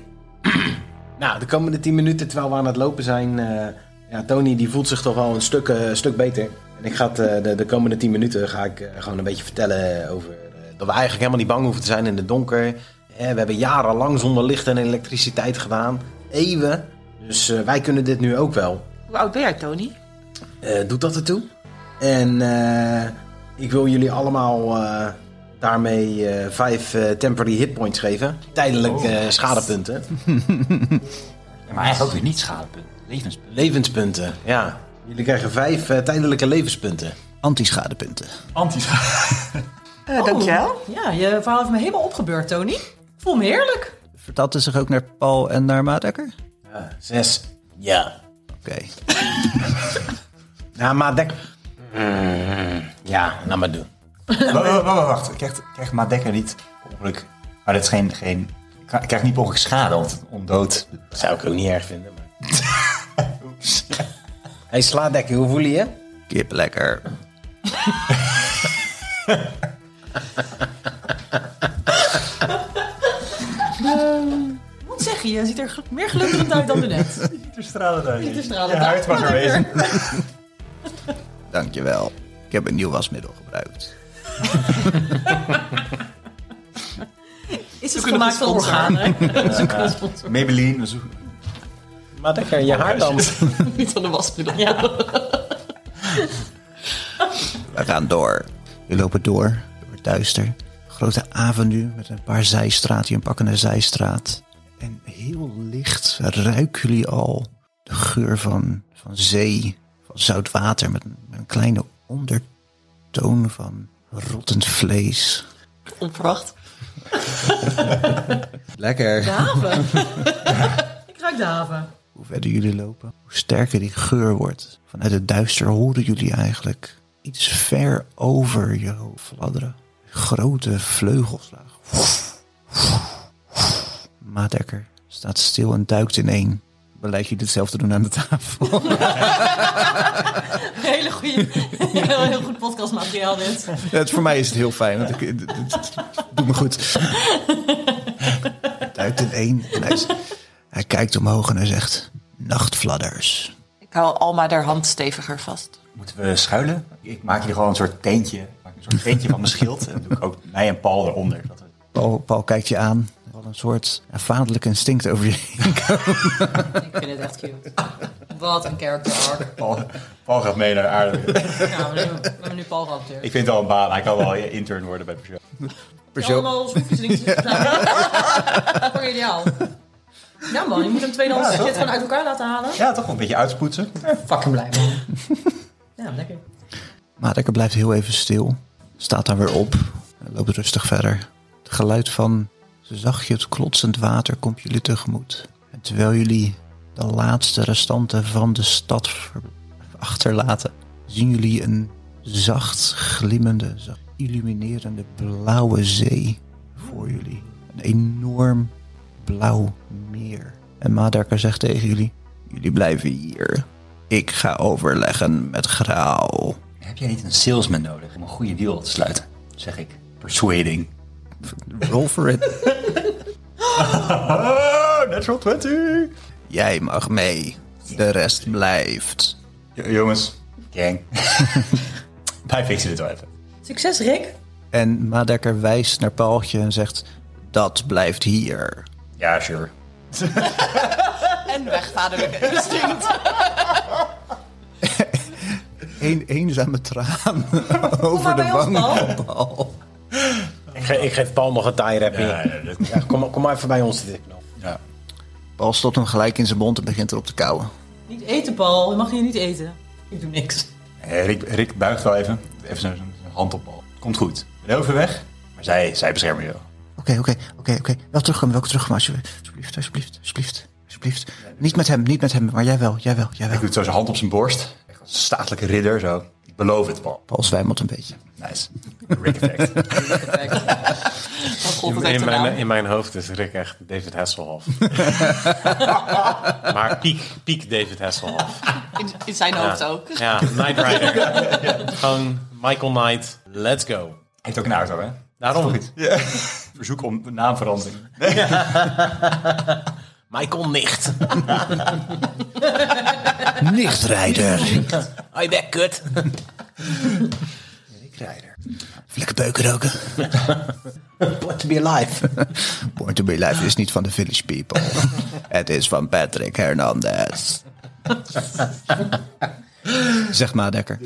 nou, de komende 10 minuten terwijl we aan het lopen zijn. eh, ja, Tony die voelt zich toch wel een stuk, eh, stuk beter. En ik ga het, eh, de, de komende 10 minuten ga ik eh, gewoon een beetje vertellen over. eh, dat we eigenlijk helemaal niet bang hoeven te zijn in het donker. Eh, we hebben jarenlang zonder licht en elektriciteit gedaan. Eeuwen. Dus eh, wij kunnen dit nu ook wel.
Hoe oud ben jij, Tony?
Eh, doet dat ertoe. En eh, ik wil jullie allemaal eh, daarmee eh, vijf eh, temporary hitpoints geven. Tijdelijk eh, schadepunten.
Maar eigenlijk ook weer niet schadepunt. Levenspunt.
Levenspunten, ja. Jullie krijgen vijf eh, tijdelijke levenspunten.
Antischadepunten.
Anti-schadepunt.
Eh, dankjewel.
Ja, je verhaal heeft me helemaal opgebeurd, Tony. Ik voel me heerlijk.
Vertaalt het zich ook naar Paul en naar Maadekker?
Ja, zes. Ja. Nou, maar dek... Ja, nou maar doen.
Wacht, wacht, wacht, wacht. Ik Krijgt, krijgt Madekker niet per ongeluk... Maar dat is geen... geen ik krijg niet per ongeluk schade, want ondood...
Dat zou ik ook niet erg vinden. Maar... hey, sla dekker, hoe voel je je?
Kip lekker.
Wat zeg je? Je ziet er gel- meer glunderend uit dan net.
Niet er stralen uit.
er stralend
Je
uit.
huid mag er wezen.
Dankjewel. Ik heb een nieuw wasmiddel gebruikt.
Is het gemaakt van organen?
Maybelline, we zoeken...
Maar dekker, je haar dan?
Niet van de wasmiddel. Ja.
We gaan door. We lopen door. Het wordt duister. Grote avenue met een paar zijstraten. Een pakkende zijstraat. En heel licht ruiken jullie al de geur van, van zee. Van zout water. Met een, met een kleine ondertoon van rottend vlees.
Onverwacht.
Lekker.
De haven. Ik ruik de haven.
Hoe verder jullie lopen, hoe sterker die geur wordt. Vanuit het duister horen jullie eigenlijk iets ver over je hoofd fladderen. Grote vleugelslagen. Maadekker staat stil en duikt ineen. Beleid jullie hetzelfde doen aan de tafel.
Hele goede, heel, heel goed podcastmateriaal dit.
het, voor mij is het heel fijn, want ik, het, het- het doet me goed. duikt ineen. En hij, is- hij kijkt omhoog en hij zegt... Nachtvladders.
Ik hou Alma haar hand steviger vast.
Moeten we schuilen? Ik maak hier gewoon een soort teentje. Ik maak een soort teentje van mijn schild. En dan doe ik ook mij en Paul eronder. Dat we-
Paul, Paul kijkt je aan. Wat een soort ja, vaderlijk instinct over je heen.
Ik vind het echt cute. Wat een character arc.
Paul, Paul gaat mee naar de aarde.
Nou, we hebben- we hebben nu Paul gehad dus. natuurlijk.
Ik vind het wel een baan. Hij kan wel intern worden bij het persoon.
Allemaal schroefjes links en rechts. Voor ideaal. Ja man, je moet hem tweedehands shit gewoon uit elkaar laten halen.
Ja, toch wel een beetje uitspoetsen.
Fucking blij man. Ja, lekker.
Maar Dekker blijft heel even stil. Staat dan weer op. En loopt rustig verder. Het geluid van zachtje het klotsend water komt jullie tegemoet. En terwijl jullie de laatste restanten van de stad ver- achterlaten... zien jullie een zacht glimmende, zacht illuminerende blauwe zee voor jullie. Een enorm blauw meer. En Maderker zegt tegen jullie... Jullie blijven hier. Ik ga overleggen met Graal.
Heb jij niet een salesman nodig om een goede deal te sluiten? Zeg ik. Persuading.
Roll for it.
Oh, natural 20!
Jij mag mee. De rest blijft.
jongens. Gang. Wij fixen dit wel even.
Succes Rick.
En Madekker wijst naar Paaltje en zegt... Dat blijft hier.
Ja, sure.
En weg, vaderlijke instinct.
Eén eenzame traan
Kom maar
over de
bij ons
wang
Paul.
van Paul.
Ik, ge- ik geef Paul nog een tie rap
Ja,
in.
ja, dat-
Ja, kom, maar- kom maar even bij ons zitten.
ja.
Paul stopt hem gelijk in zijn mond en begint erop te kauwen.
Niet eten Paul, je mag hier niet eten. Ik doe niks.
Eh, Rick, Rick buigt wel even. Even zijn zijn hand op Paul. Komt goed. Ik ben over weg. Maar zij, zij beschermen je wel.
Oké, oké, oké, oké. Wel terugkomen, wel terugkomen. Alsjeblieft, alsjeblieft, alsjeblieft, alsjeblieft. alsjeblieft. Niet met hem, niet met hem, maar jij wel, jij wel, jij
Hij
wel.
doet zo zijn hand op zijn borst. Echt als een statelijke ridder zo. Ik beloof het, Paul.
Paul zwijmelt een beetje.
Nice. Rick effect.
Dan God, dat
In,
heeft
in
de
mijn,
naam.
in mijn hoofd is Rick echt David Hasselhoff. maar piek, piek David Hasselhoff.
In, in zijn hoofd ook.
Ja, Knight Rider. Gewoon Michael Knight. Let's go.
Heeft ook een auto, hè?
Daarom.
Verzoek om naamverandering.
Michael Nicht.
Nichtrijder.
Hoi, back kut.
Lekker beuken roken.
What to be alive.
Born to be Life is niet van de Village People. Het is van Patrick Hernandez. zeg maar, Dekker.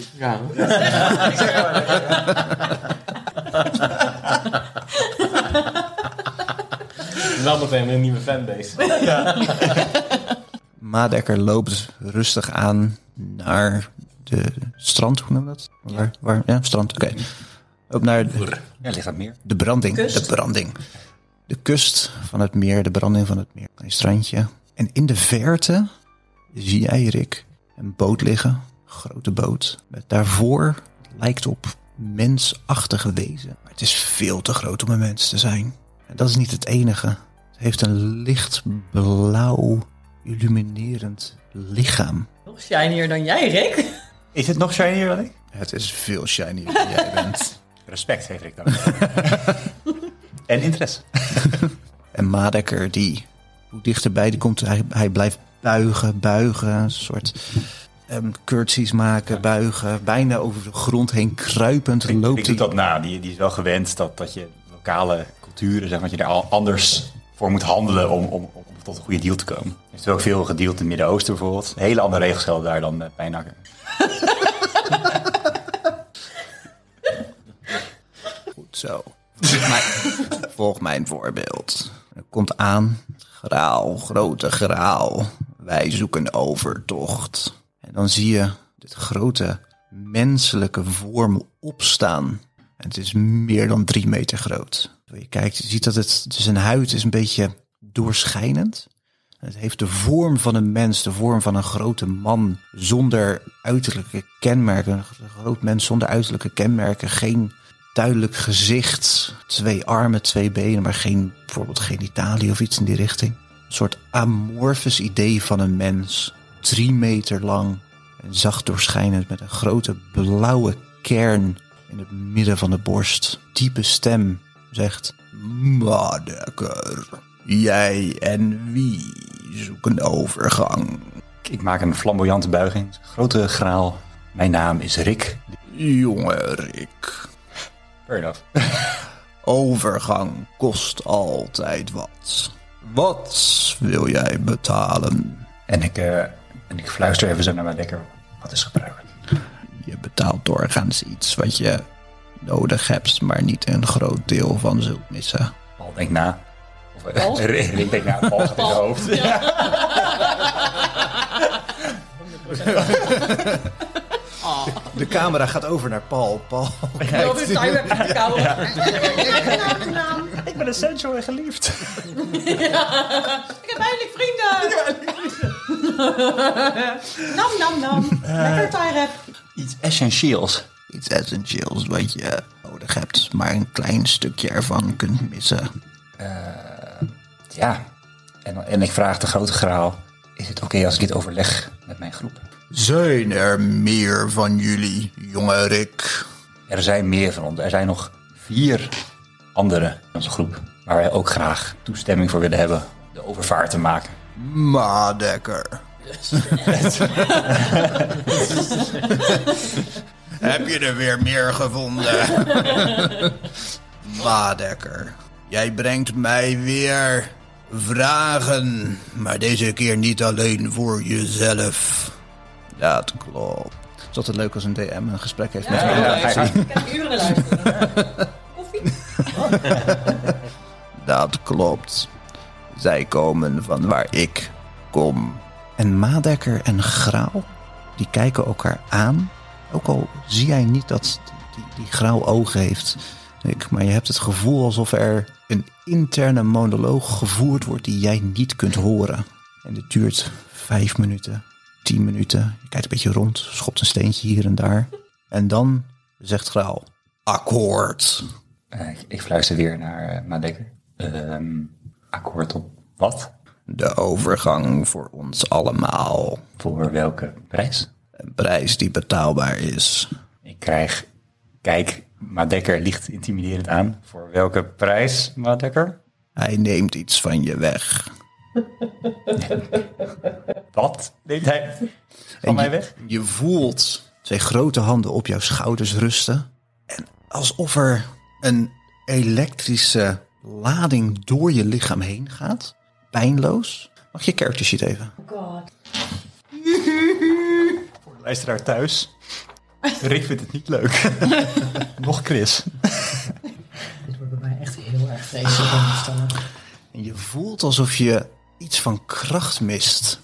Wel meteen een nieuwe fanbase.
Madekker loopt rustig aan naar de strand, hoe noem je dat? Waar, waar, ja, strand, oké. Ook naar de,
Ja, ligt dat meer?
de branding,
Kust.
de branding. De kust van het meer, de branding van het meer. Een strandje. En in de verte zie jij, Rick, een boot liggen. Een grote boot. Met daarvoor lijkt op mensachtige wezen. Maar het is veel te groot om een mens te zijn. En dat is niet het enige. Het heeft een licht blauw, illuminerend lichaam.
Nog shinier dan jij, Rick.
Is het nog shinier dan ik?
Het is veel shinier dan jij bent.
Respect heeft Rick dan. en interesse.
En Madekker, die hoe dichterbij die komt, hij, hij blijft buigen, buigen, een soort ehm curtsies maken, buigen, bijna over de grond heen kruipend
Ik
loopt
doe
hij.
dat na. Die, die is wel gewend dat, dat je lokale culturen, zeg maar, dat je daar al anders voor moet handelen om, om, om tot een goede deal te komen. Er is ook veel gedeeld in het Midden-Oosten bijvoorbeeld. Hele andere regels gelden daar dan eh, bij Pijnakker.
Goed zo. Volg mijn, volg mijn voorbeeld. Hij komt aan, graal, grote graal. Wij zoeken overtocht. En dan zie je dit grote menselijke vorm opstaan. En het is meer dan drie meter groot. Je kijkt, je ziet dat het, zijn huid is een beetje doorschijnend. En Het heeft de vorm van een mens, de vorm van een grote man zonder uiterlijke kenmerken. Een groot mens zonder uiterlijke kenmerken, geen duidelijk gezicht, twee armen, twee benen, maar geen bijvoorbeeld genitalie of iets in die richting. Een soort amorfus idee van een mens, drie meter lang en zacht doorschijnend met een grote blauwe kern in het midden van de borst. Diepe stem zegt: Madekker, jij en wie zoeken overgang?
Ik maak een flamboyante buiging. Grote graal. Mijn naam is Rick.
Jonge Rick,
Fair enough.
overgang kost altijd wat. Wat wil jij betalen?
En ik, eh, en ik fluister even zo naar mijn dekker. Wat is gebruikelijk?
Je betaalt doorgaans iets wat je nodig hebt, maar niet een groot deel van zult missen.
Paul denkt na. Of, eh, Rick Rick denkt na. Paul gaat in zijn hoofd.
De camera gaat over naar Paul. Paul.
Dat is timer.
Ik ben essential en geliefd.
Ik heb eindelijk vrienden. nam, nam, nam. Lekker Tyrep.
Iets essentieels.
Iets essentieels wat je nodig hebt, maar een klein stukje ervan kunt missen.
Ja. En, dan- en ik vraag de grote graal. Is het oké als ik dit overleg met mijn groep?
Zijn er meer van jullie, jonge Rick?
Er zijn meer van ons. Er zijn nog vier anderen in onze groep. Waar wij ook graag toestemming voor willen hebben. De overvaart te maken.
Madekker. Heb je er weer meer gevonden? Madekker, jij brengt mij weer vragen, maar deze keer niet alleen voor jezelf. Dat klopt. Is altijd leuk als een DM een gesprek heeft met
Ja, Ik heb uren luisteren. Koffie?
Dat klopt. Zij komen van waar ik kom. En Madekker en Grauw, die kijken elkaar aan. Ook al zie jij niet dat die, die Grauw ogen heeft. Ik, maar je hebt het gevoel alsof er een interne monoloog gevoerd wordt die jij niet kunt horen. En dit duurt vijf minuten, tien minuten. Je kijkt een beetje rond, schopt een steentje hier en daar. En dan zegt Grauw, akkoord.
Eh, ik, ik fluister weer naar eh, Madekker. Ehm, akkoord op wat?
De overgang voor ons allemaal.
Voor welke prijs?
Een prijs die betaalbaar is.
Ik krijg... Kijk, Madekker ligt intimiderend aan. Voor welke prijs, Madekker?
Hij neemt iets van je weg.
Wat neemt hij van
En
mij
je-
weg?
Je voelt twee grote handen op jouw schouders rusten. En alsof er een elektrische lading door je lichaam heen gaat. Pijnloos. Mag je character sheet even?
Luisteraar thuis. Rick vindt het niet leuk. Nog Chris.
En je voelt alsof je iets van kracht mist.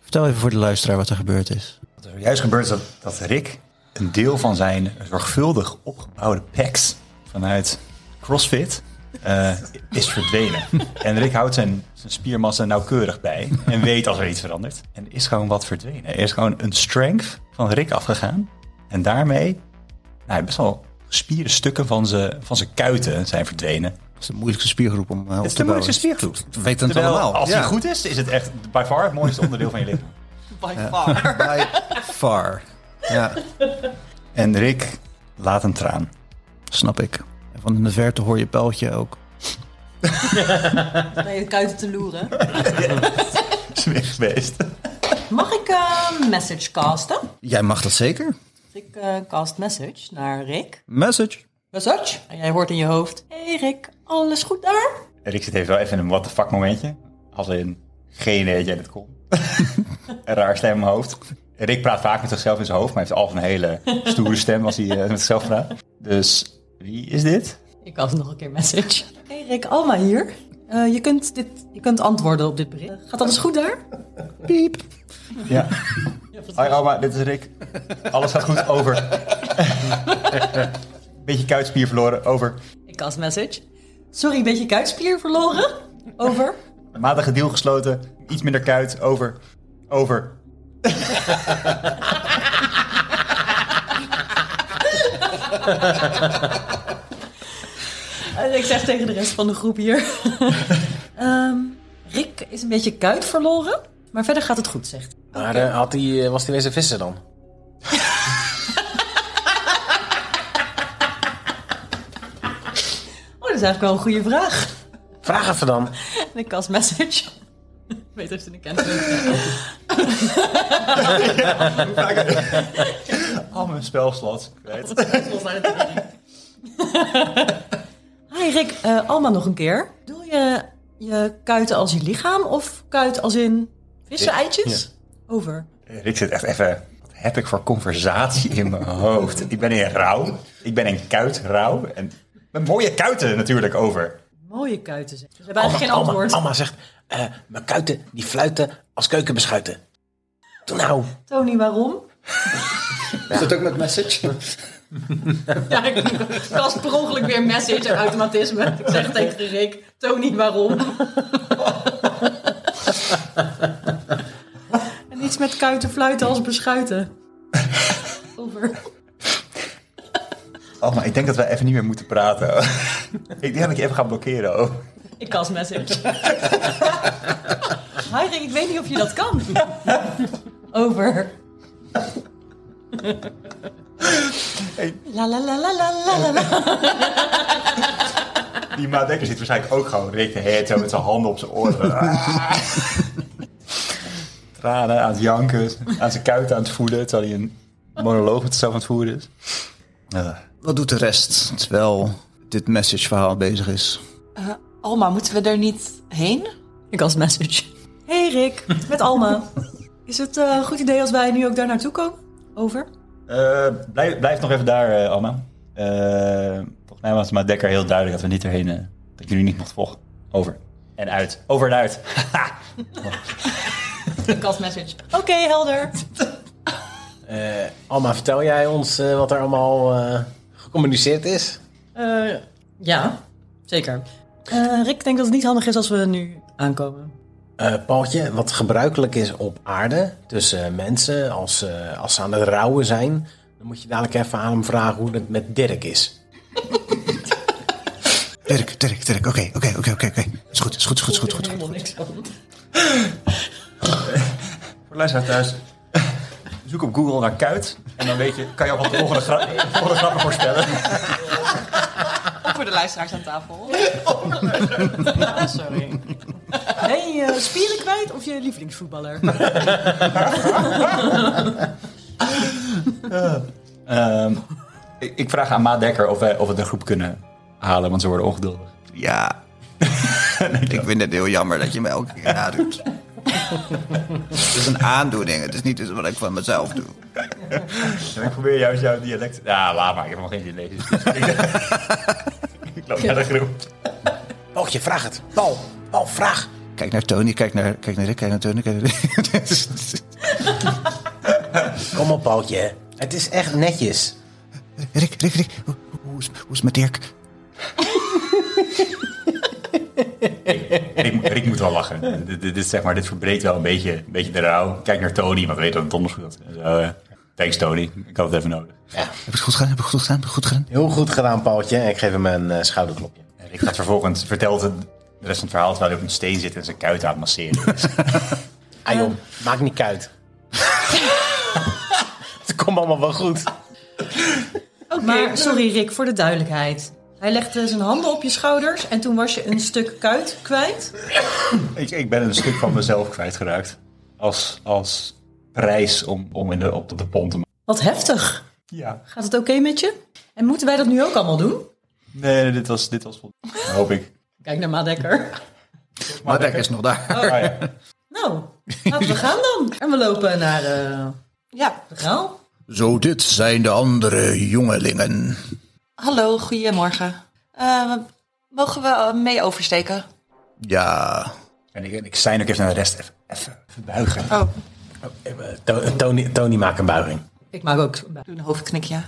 Vertel even voor de luisteraar wat er gebeurd is.
Wat er zojuist gebeurt is dat, dat Rick een deel van zijn zorgvuldig opgebouwde packs vanuit CrossFit
eh, is verdwenen. en Rick houdt zijn, zijn spiermassa nauwkeurig bij en weet als er iets verandert. En er is gewoon wat verdwenen. Er is gewoon een strength van Rick afgegaan. En daarmee, nou, best wel spieren stukken van zijn, van zijn kuiten zijn verdwenen.
Dat is de moeilijkste spiergroep om eh, op
Het is
te
de
bouwen.
moeilijkste spiergroep.
We weten het
Terwijl,
allemaal.
als
ja.
hij goed is, is het echt by far het mooiste onderdeel van je lichaam.
Ah, By far.
By far. Ja,
En Rick laat een traan.
snap ik. En van in de verte hoor je pijltje ook.
Bij je kuiten te loeren.
Is weg geweest.
Mag ik eh, message casten?
Jij mag dat zeker.
Ik eh, cast message naar Rick.
Message.
Message? En jij hoort in je hoofd. hey Rick, alles goed daar?
Rick zit even wel even in een what the fuck momentje. Als in geen idee dat jij dit kon. een raar stem in mijn hoofd. Rick praat vaak met zichzelf in zijn hoofd, maar hij heeft altijd een hele stoere stem als hij eh, met zichzelf praat. Dus wie is dit?
Ik cast nog een keer message. hey Rick, Alma hier. Eh, je, kunt dit, je kunt antwoorden op dit bericht. Eh, Gaat alles goed daar?
Piep.
Ja. Hoi Alma, dit is Rick. Alles gaat goed, over. Beetje kuitspier verloren, over.
Ik cast message. Sorry, een beetje kuitspier verloren. Over.
Matige deal gesloten, iets minder kuit, over. Over.
En Eh, ik zeg tegen de rest van de groep hier. Ehm, Rick is een beetje kuit verloren. Maar verder gaat het goed, zegt hij.
Maar eh, had die, eh, was die wezen vissen dan?
Oh, dat is eigenlijk wel een goede vraag.
Vraag even dan.
En ik cast message. Beter als je een kennis
Al mijn spelslots.
Hi Rick, eh, Alma nog een keer. Bedoel je je kuiten als je lichaam of kuit als in vissen, eitjes? Over.
Rick zit echt even. Wat heb ik voor conversatie in mijn hoofd? Ik ben in rouw. Ik ben in kuit rouw. En mijn mooie kuiten natuurlijk over.
Mooie kuiten zeg. Ze hebben eigenlijk geen antwoord.
Alma zegt, eh, mijn kuiten die fluiten als keukenbeschuiten. Doe nou.
Tony, waarom?
Is dat ook met message?
Ja, ik ik kast per ongeluk weer message en automatisme. Ik zeg tegen Rick, Tony, waarom? en iets met kuiten fluiten als beschuiten. Over.
Oh, maar ik denk dat wij even niet meer moeten praten. ik denk dat ik je even ga blokkeren. Oh.
Ik cast message. Hi Rick, ik weet niet of je dat kan. Over. La la la la la la la la.
Die Maadekker zit waarschijnlijk ook gewoon Rick de Heer zo met zijn handen op zijn oren. Ah. Tranen aan het janken, aan zijn kuiten aan het voelen. Terwijl hij een monoloog met zichzelf aan het voeren is.
Wat doet de rest terwijl dit message verhaal bezig is?
Alma, moeten we er niet heen?
Ik cast message. Hey Rick, met Alma. Is het eh, een goed idee als wij nu ook daar naartoe komen? Over.
Eh, blijf, blijf nog even daar, eh, Alma. Eh, volgens mij was het Dekker heel duidelijk dat we niet erheen... eh, dat jullie niet mocht volgen. Over. En uit. Over en uit.
Ik cast message. Oké, helder.
Eh, Alma, vertel jij ons eh, wat er allemaal eh, gecommuniceerd is?
Eh, ja, zeker. Eh, Rick denkt dat het niet handig is als we nu aankomen.
Eh Paultje, wat gebruikelijk is op aarde tussen mensen als, eh, als ze aan het rouwen zijn, dan moet je dadelijk even aan hem vragen hoe het met Dirk is.
Dirk, Dirk, Dirk. Oké, oké, oké, oké. oké. Is goed, is goed, is goed, is goed, is goed.
Helemaal Oh, niks van.
Voor de luisteraar thuis. Zoek op Google naar kuit. En dan weet je, kan je al wat de volgende, gra de volgende grappen voorspellen.
Voor de luisteraars aan tafel.
Oh,
Sorry.
Ben je je spieren kwijt of je lievelingsvoetballer?
Ehm, ik, ik vraag aan Ma Dekker of, wij, of we de groep kunnen halen, want ze worden ongeduldig.
Ja. ik vind het heel jammer dat je me elke keer nadoet. het is een aandoening. Het is niet iets wat ik van mezelf doe.
En ik probeer juist jouw dialect... Ja, laat maar. Ik heb nog geen dialect. dus- ik loop naar de groep.
Paultje, vraag het. Paul, Paul, vraag.
Kijk naar Tony, kijk naar, kijk naar Rick, kijk naar Tony, kijk naar Rick. Dit is- dit is-
Kom op, Paultje. Het is echt netjes.
Rick, Rick, Rick. Hoe, hoe, is, hoe is het met Dirk?
Rick, moet- Rick moet wel lachen. Dit, dit, dit, zeg maar, dit verbreedt wel een beetje, een beetje de rouw. Kijk naar Tony, want we weten dat het onderzoek is. Zo, eh, thanks Tony, ik had het even nodig.
Heb ik het goed gedaan? Heb ik het goed gedaan? Heb ik het goed gedaan?
Heel goed gedaan, Paultje. En Ik geef hem een eh, schouderklopje.
En Rick gaat vervolgens, vertelt het, de rest van het verhaal terwijl hij op een steen zit en zijn kuiten aan het masseren. is.
Ah joh, maakt niet uit. Het komt allemaal wel goed.
Maar sorry Rick, voor de duidelijkheid. Hij legde zijn handen op je schouders en toen was je een stuk kuit kwijt.
ik, ik ben een stuk van mezelf kwijtgeraakt. Als, als prijs om, om in de, op de pont te maken.
Wat heftig.
Ja.
Gaat het oké met je? En moeten wij dat nu ook allemaal doen?
Nee, nee, dit was, dit was vol- hoop ik.
Kijk naar Madekker.
Maar Dek is nog daar.
Ah, ja.
Nou, laten we gaan dan. En we lopen naar eh,
Ja,
de graal.
Zo, dit zijn de andere jongelingen.
hallo, goedemorgen. Eh, mogen we eh, mee oversteken?
Ja,
En ik, en ik zijn ook even naar de rest. Even, even, even buigen.
Oh,
To- Tony, Tony maakt een buiging.
Ik maak ook...
doe een hoofdknikje.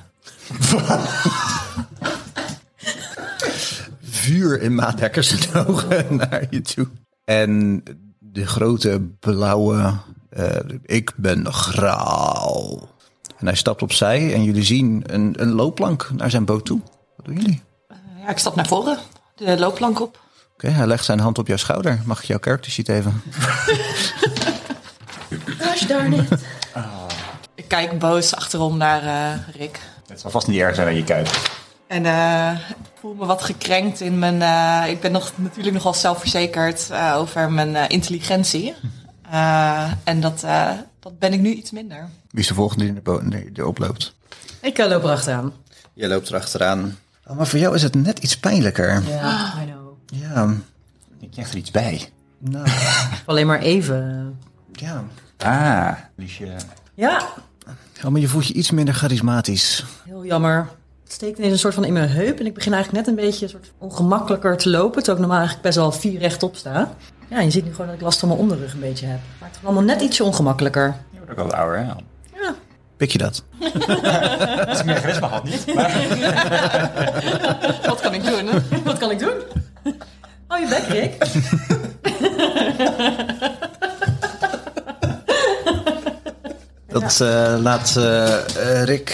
vuur in Maadekkers zijn ogen naar je toe. En de grote blauwe, eh, ik ben graal. En hij stapt opzij en jullie zien een, een loopplank naar zijn boot toe. Wat doen jullie?
Ja, ik stap naar voren, de loopplank op.
Oké, hij legt zijn hand op jouw schouder. Mag ik jouw character sheet even?
Gosh darn it.
Ik kijk boos achterom naar eh, Rick.
Het zal vast niet erg zijn aan je kuiten.
En eh, ik voel me wat gekrenkt in mijn. eh, ik ben nog, natuurlijk nogal zelfverzekerd eh, over mijn eh, intelligentie. Eh, en dat, eh, dat ben ik nu iets minder.
Wie is de volgende die in de boot die erop loopt?
Ik eh, loop erachteraan.
Jij loopt erachteraan. Oh, maar voor jou is het net iets pijnlijker.
Ja, I know.
Ja,
Ik krijg er iets bij.
nou,
Alleen maar even.
ja.
Ah, dus je...
Ja,
Ja, Oh, maar je voelt je iets minder charismatisch.
heel jammer. Het steekt ineens een soort van in mijn heup. En ik begin eigenlijk net een beetje een soort ongemakkelijker te lopen. Terwijl ik normaal eigenlijk best wel vier rechtop sta. Ja, je ziet nu gewoon dat ik last van mijn onderrug een beetje heb. Maar het is allemaal net ietsje ongemakkelijker.
Je wordt ook wel wat ouder, hè?
Ja,
Pik je dat?
Als ik meer charisma had, niet.
Wat kan ik doen?
wat kan ik doen? Hou Oh, je bek, Rick.
Dat eh, laat eh, eh, Rick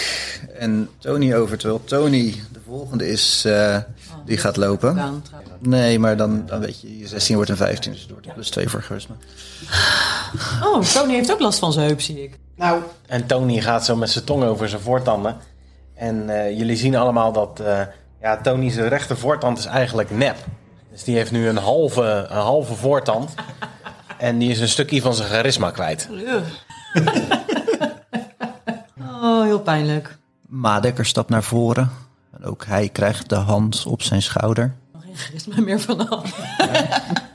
en Tony over. Terwijl Tony de volgende is eh, die gaat lopen.
Daan, trouwens.
Nee, maar dan, dan weet je, je 16 wordt een 15, dus het wordt een plus 2 voor charisma.
Oh, Tony heeft ook last van zijn heup, zie ik.
Nou. En Tony gaat zo met zijn tong over zijn voortanden. En eh, jullie zien allemaal dat eh, ja, Tony zijn rechter voortand is eigenlijk nep. Dus die heeft nu een halve, een halve voortand. En die is een stukje van zijn charisma kwijt.
Oh, heel pijnlijk.
Madekker stapt naar voren. En ook hij krijgt de hand op zijn schouder.
Er is mij meer vanaf.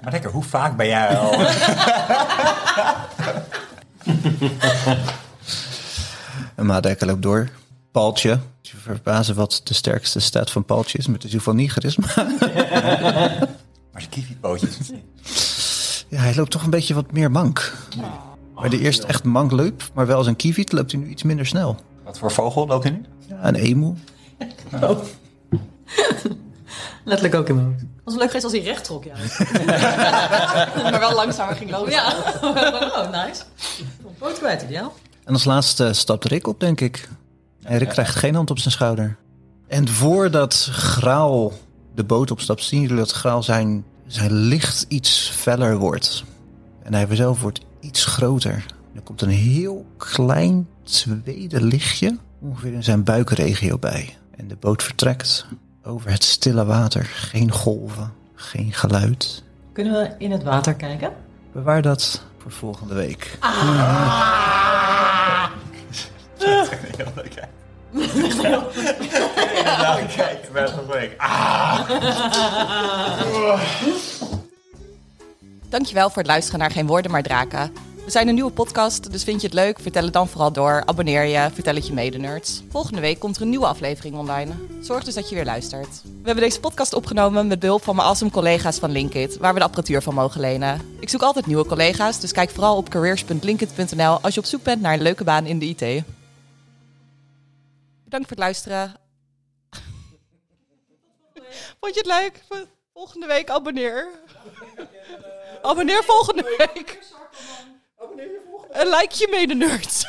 Maar lekker, hoe vaak ben jij al...
En Madekker loopt door. Paltje. Je verbazen wat de sterkste staat van Paltje is, maar het is in ieder geval niet charisma.
Maar ze kiwipootjes.
Ja, hij loopt toch een beetje wat meer mank. Waar de eerst echt mank loopt, maar wel als een kievit loopt hij nu iets minder snel.
Wat voor vogel loopt hij nu?
Ja, een emu.
Letterlijk ook in mijn hoofd. Het was leuk geweest als hij recht trok, ja.
Maar wel langzamer ging lopen.
ja, oh, nice. Een poot kwijt, ideaal.
En als laatste stapt Rick op, denk ik. En Rick krijgt geen hand op zijn schouder. En voordat Graal de boot opstapt, zien jullie dat Graal zijn, zijn licht iets feller wordt. En hij zelf wordt iets groter. Er komt een heel klein tweede lichtje ongeveer in zijn buikregio bij. En de boot vertrekt over het stille water. Geen golven, geen geluid.
Kunnen we in het water kijken?
Bewaar dat voor volgende week.
Heel leuk, hè? Inderdaad, kijk, wel gelijk.
Dankjewel voor het luisteren naar Geen Woorden Maar Draken. We zijn een nieuwe podcast, dus vind je het leuk? Vertel het dan vooral door. Abonneer je, vertel het je mede-nerds. Volgende week komt er een nieuwe aflevering online. Zorg dus dat je weer luistert. We hebben deze podcast opgenomen met behulp van mijn awesome collega's van Linkit, waar we de apparatuur van mogen lenen. Ik zoek altijd nieuwe collega's, dus kijk vooral op careers.linkit.nl als je op zoek bent naar een leuke baan in de IT. Bedankt voor het luisteren. Vond je het leuk? Volgende week abonneer. abonneer volgende week. Abonneer je volgende week. Een likeje mede nerds.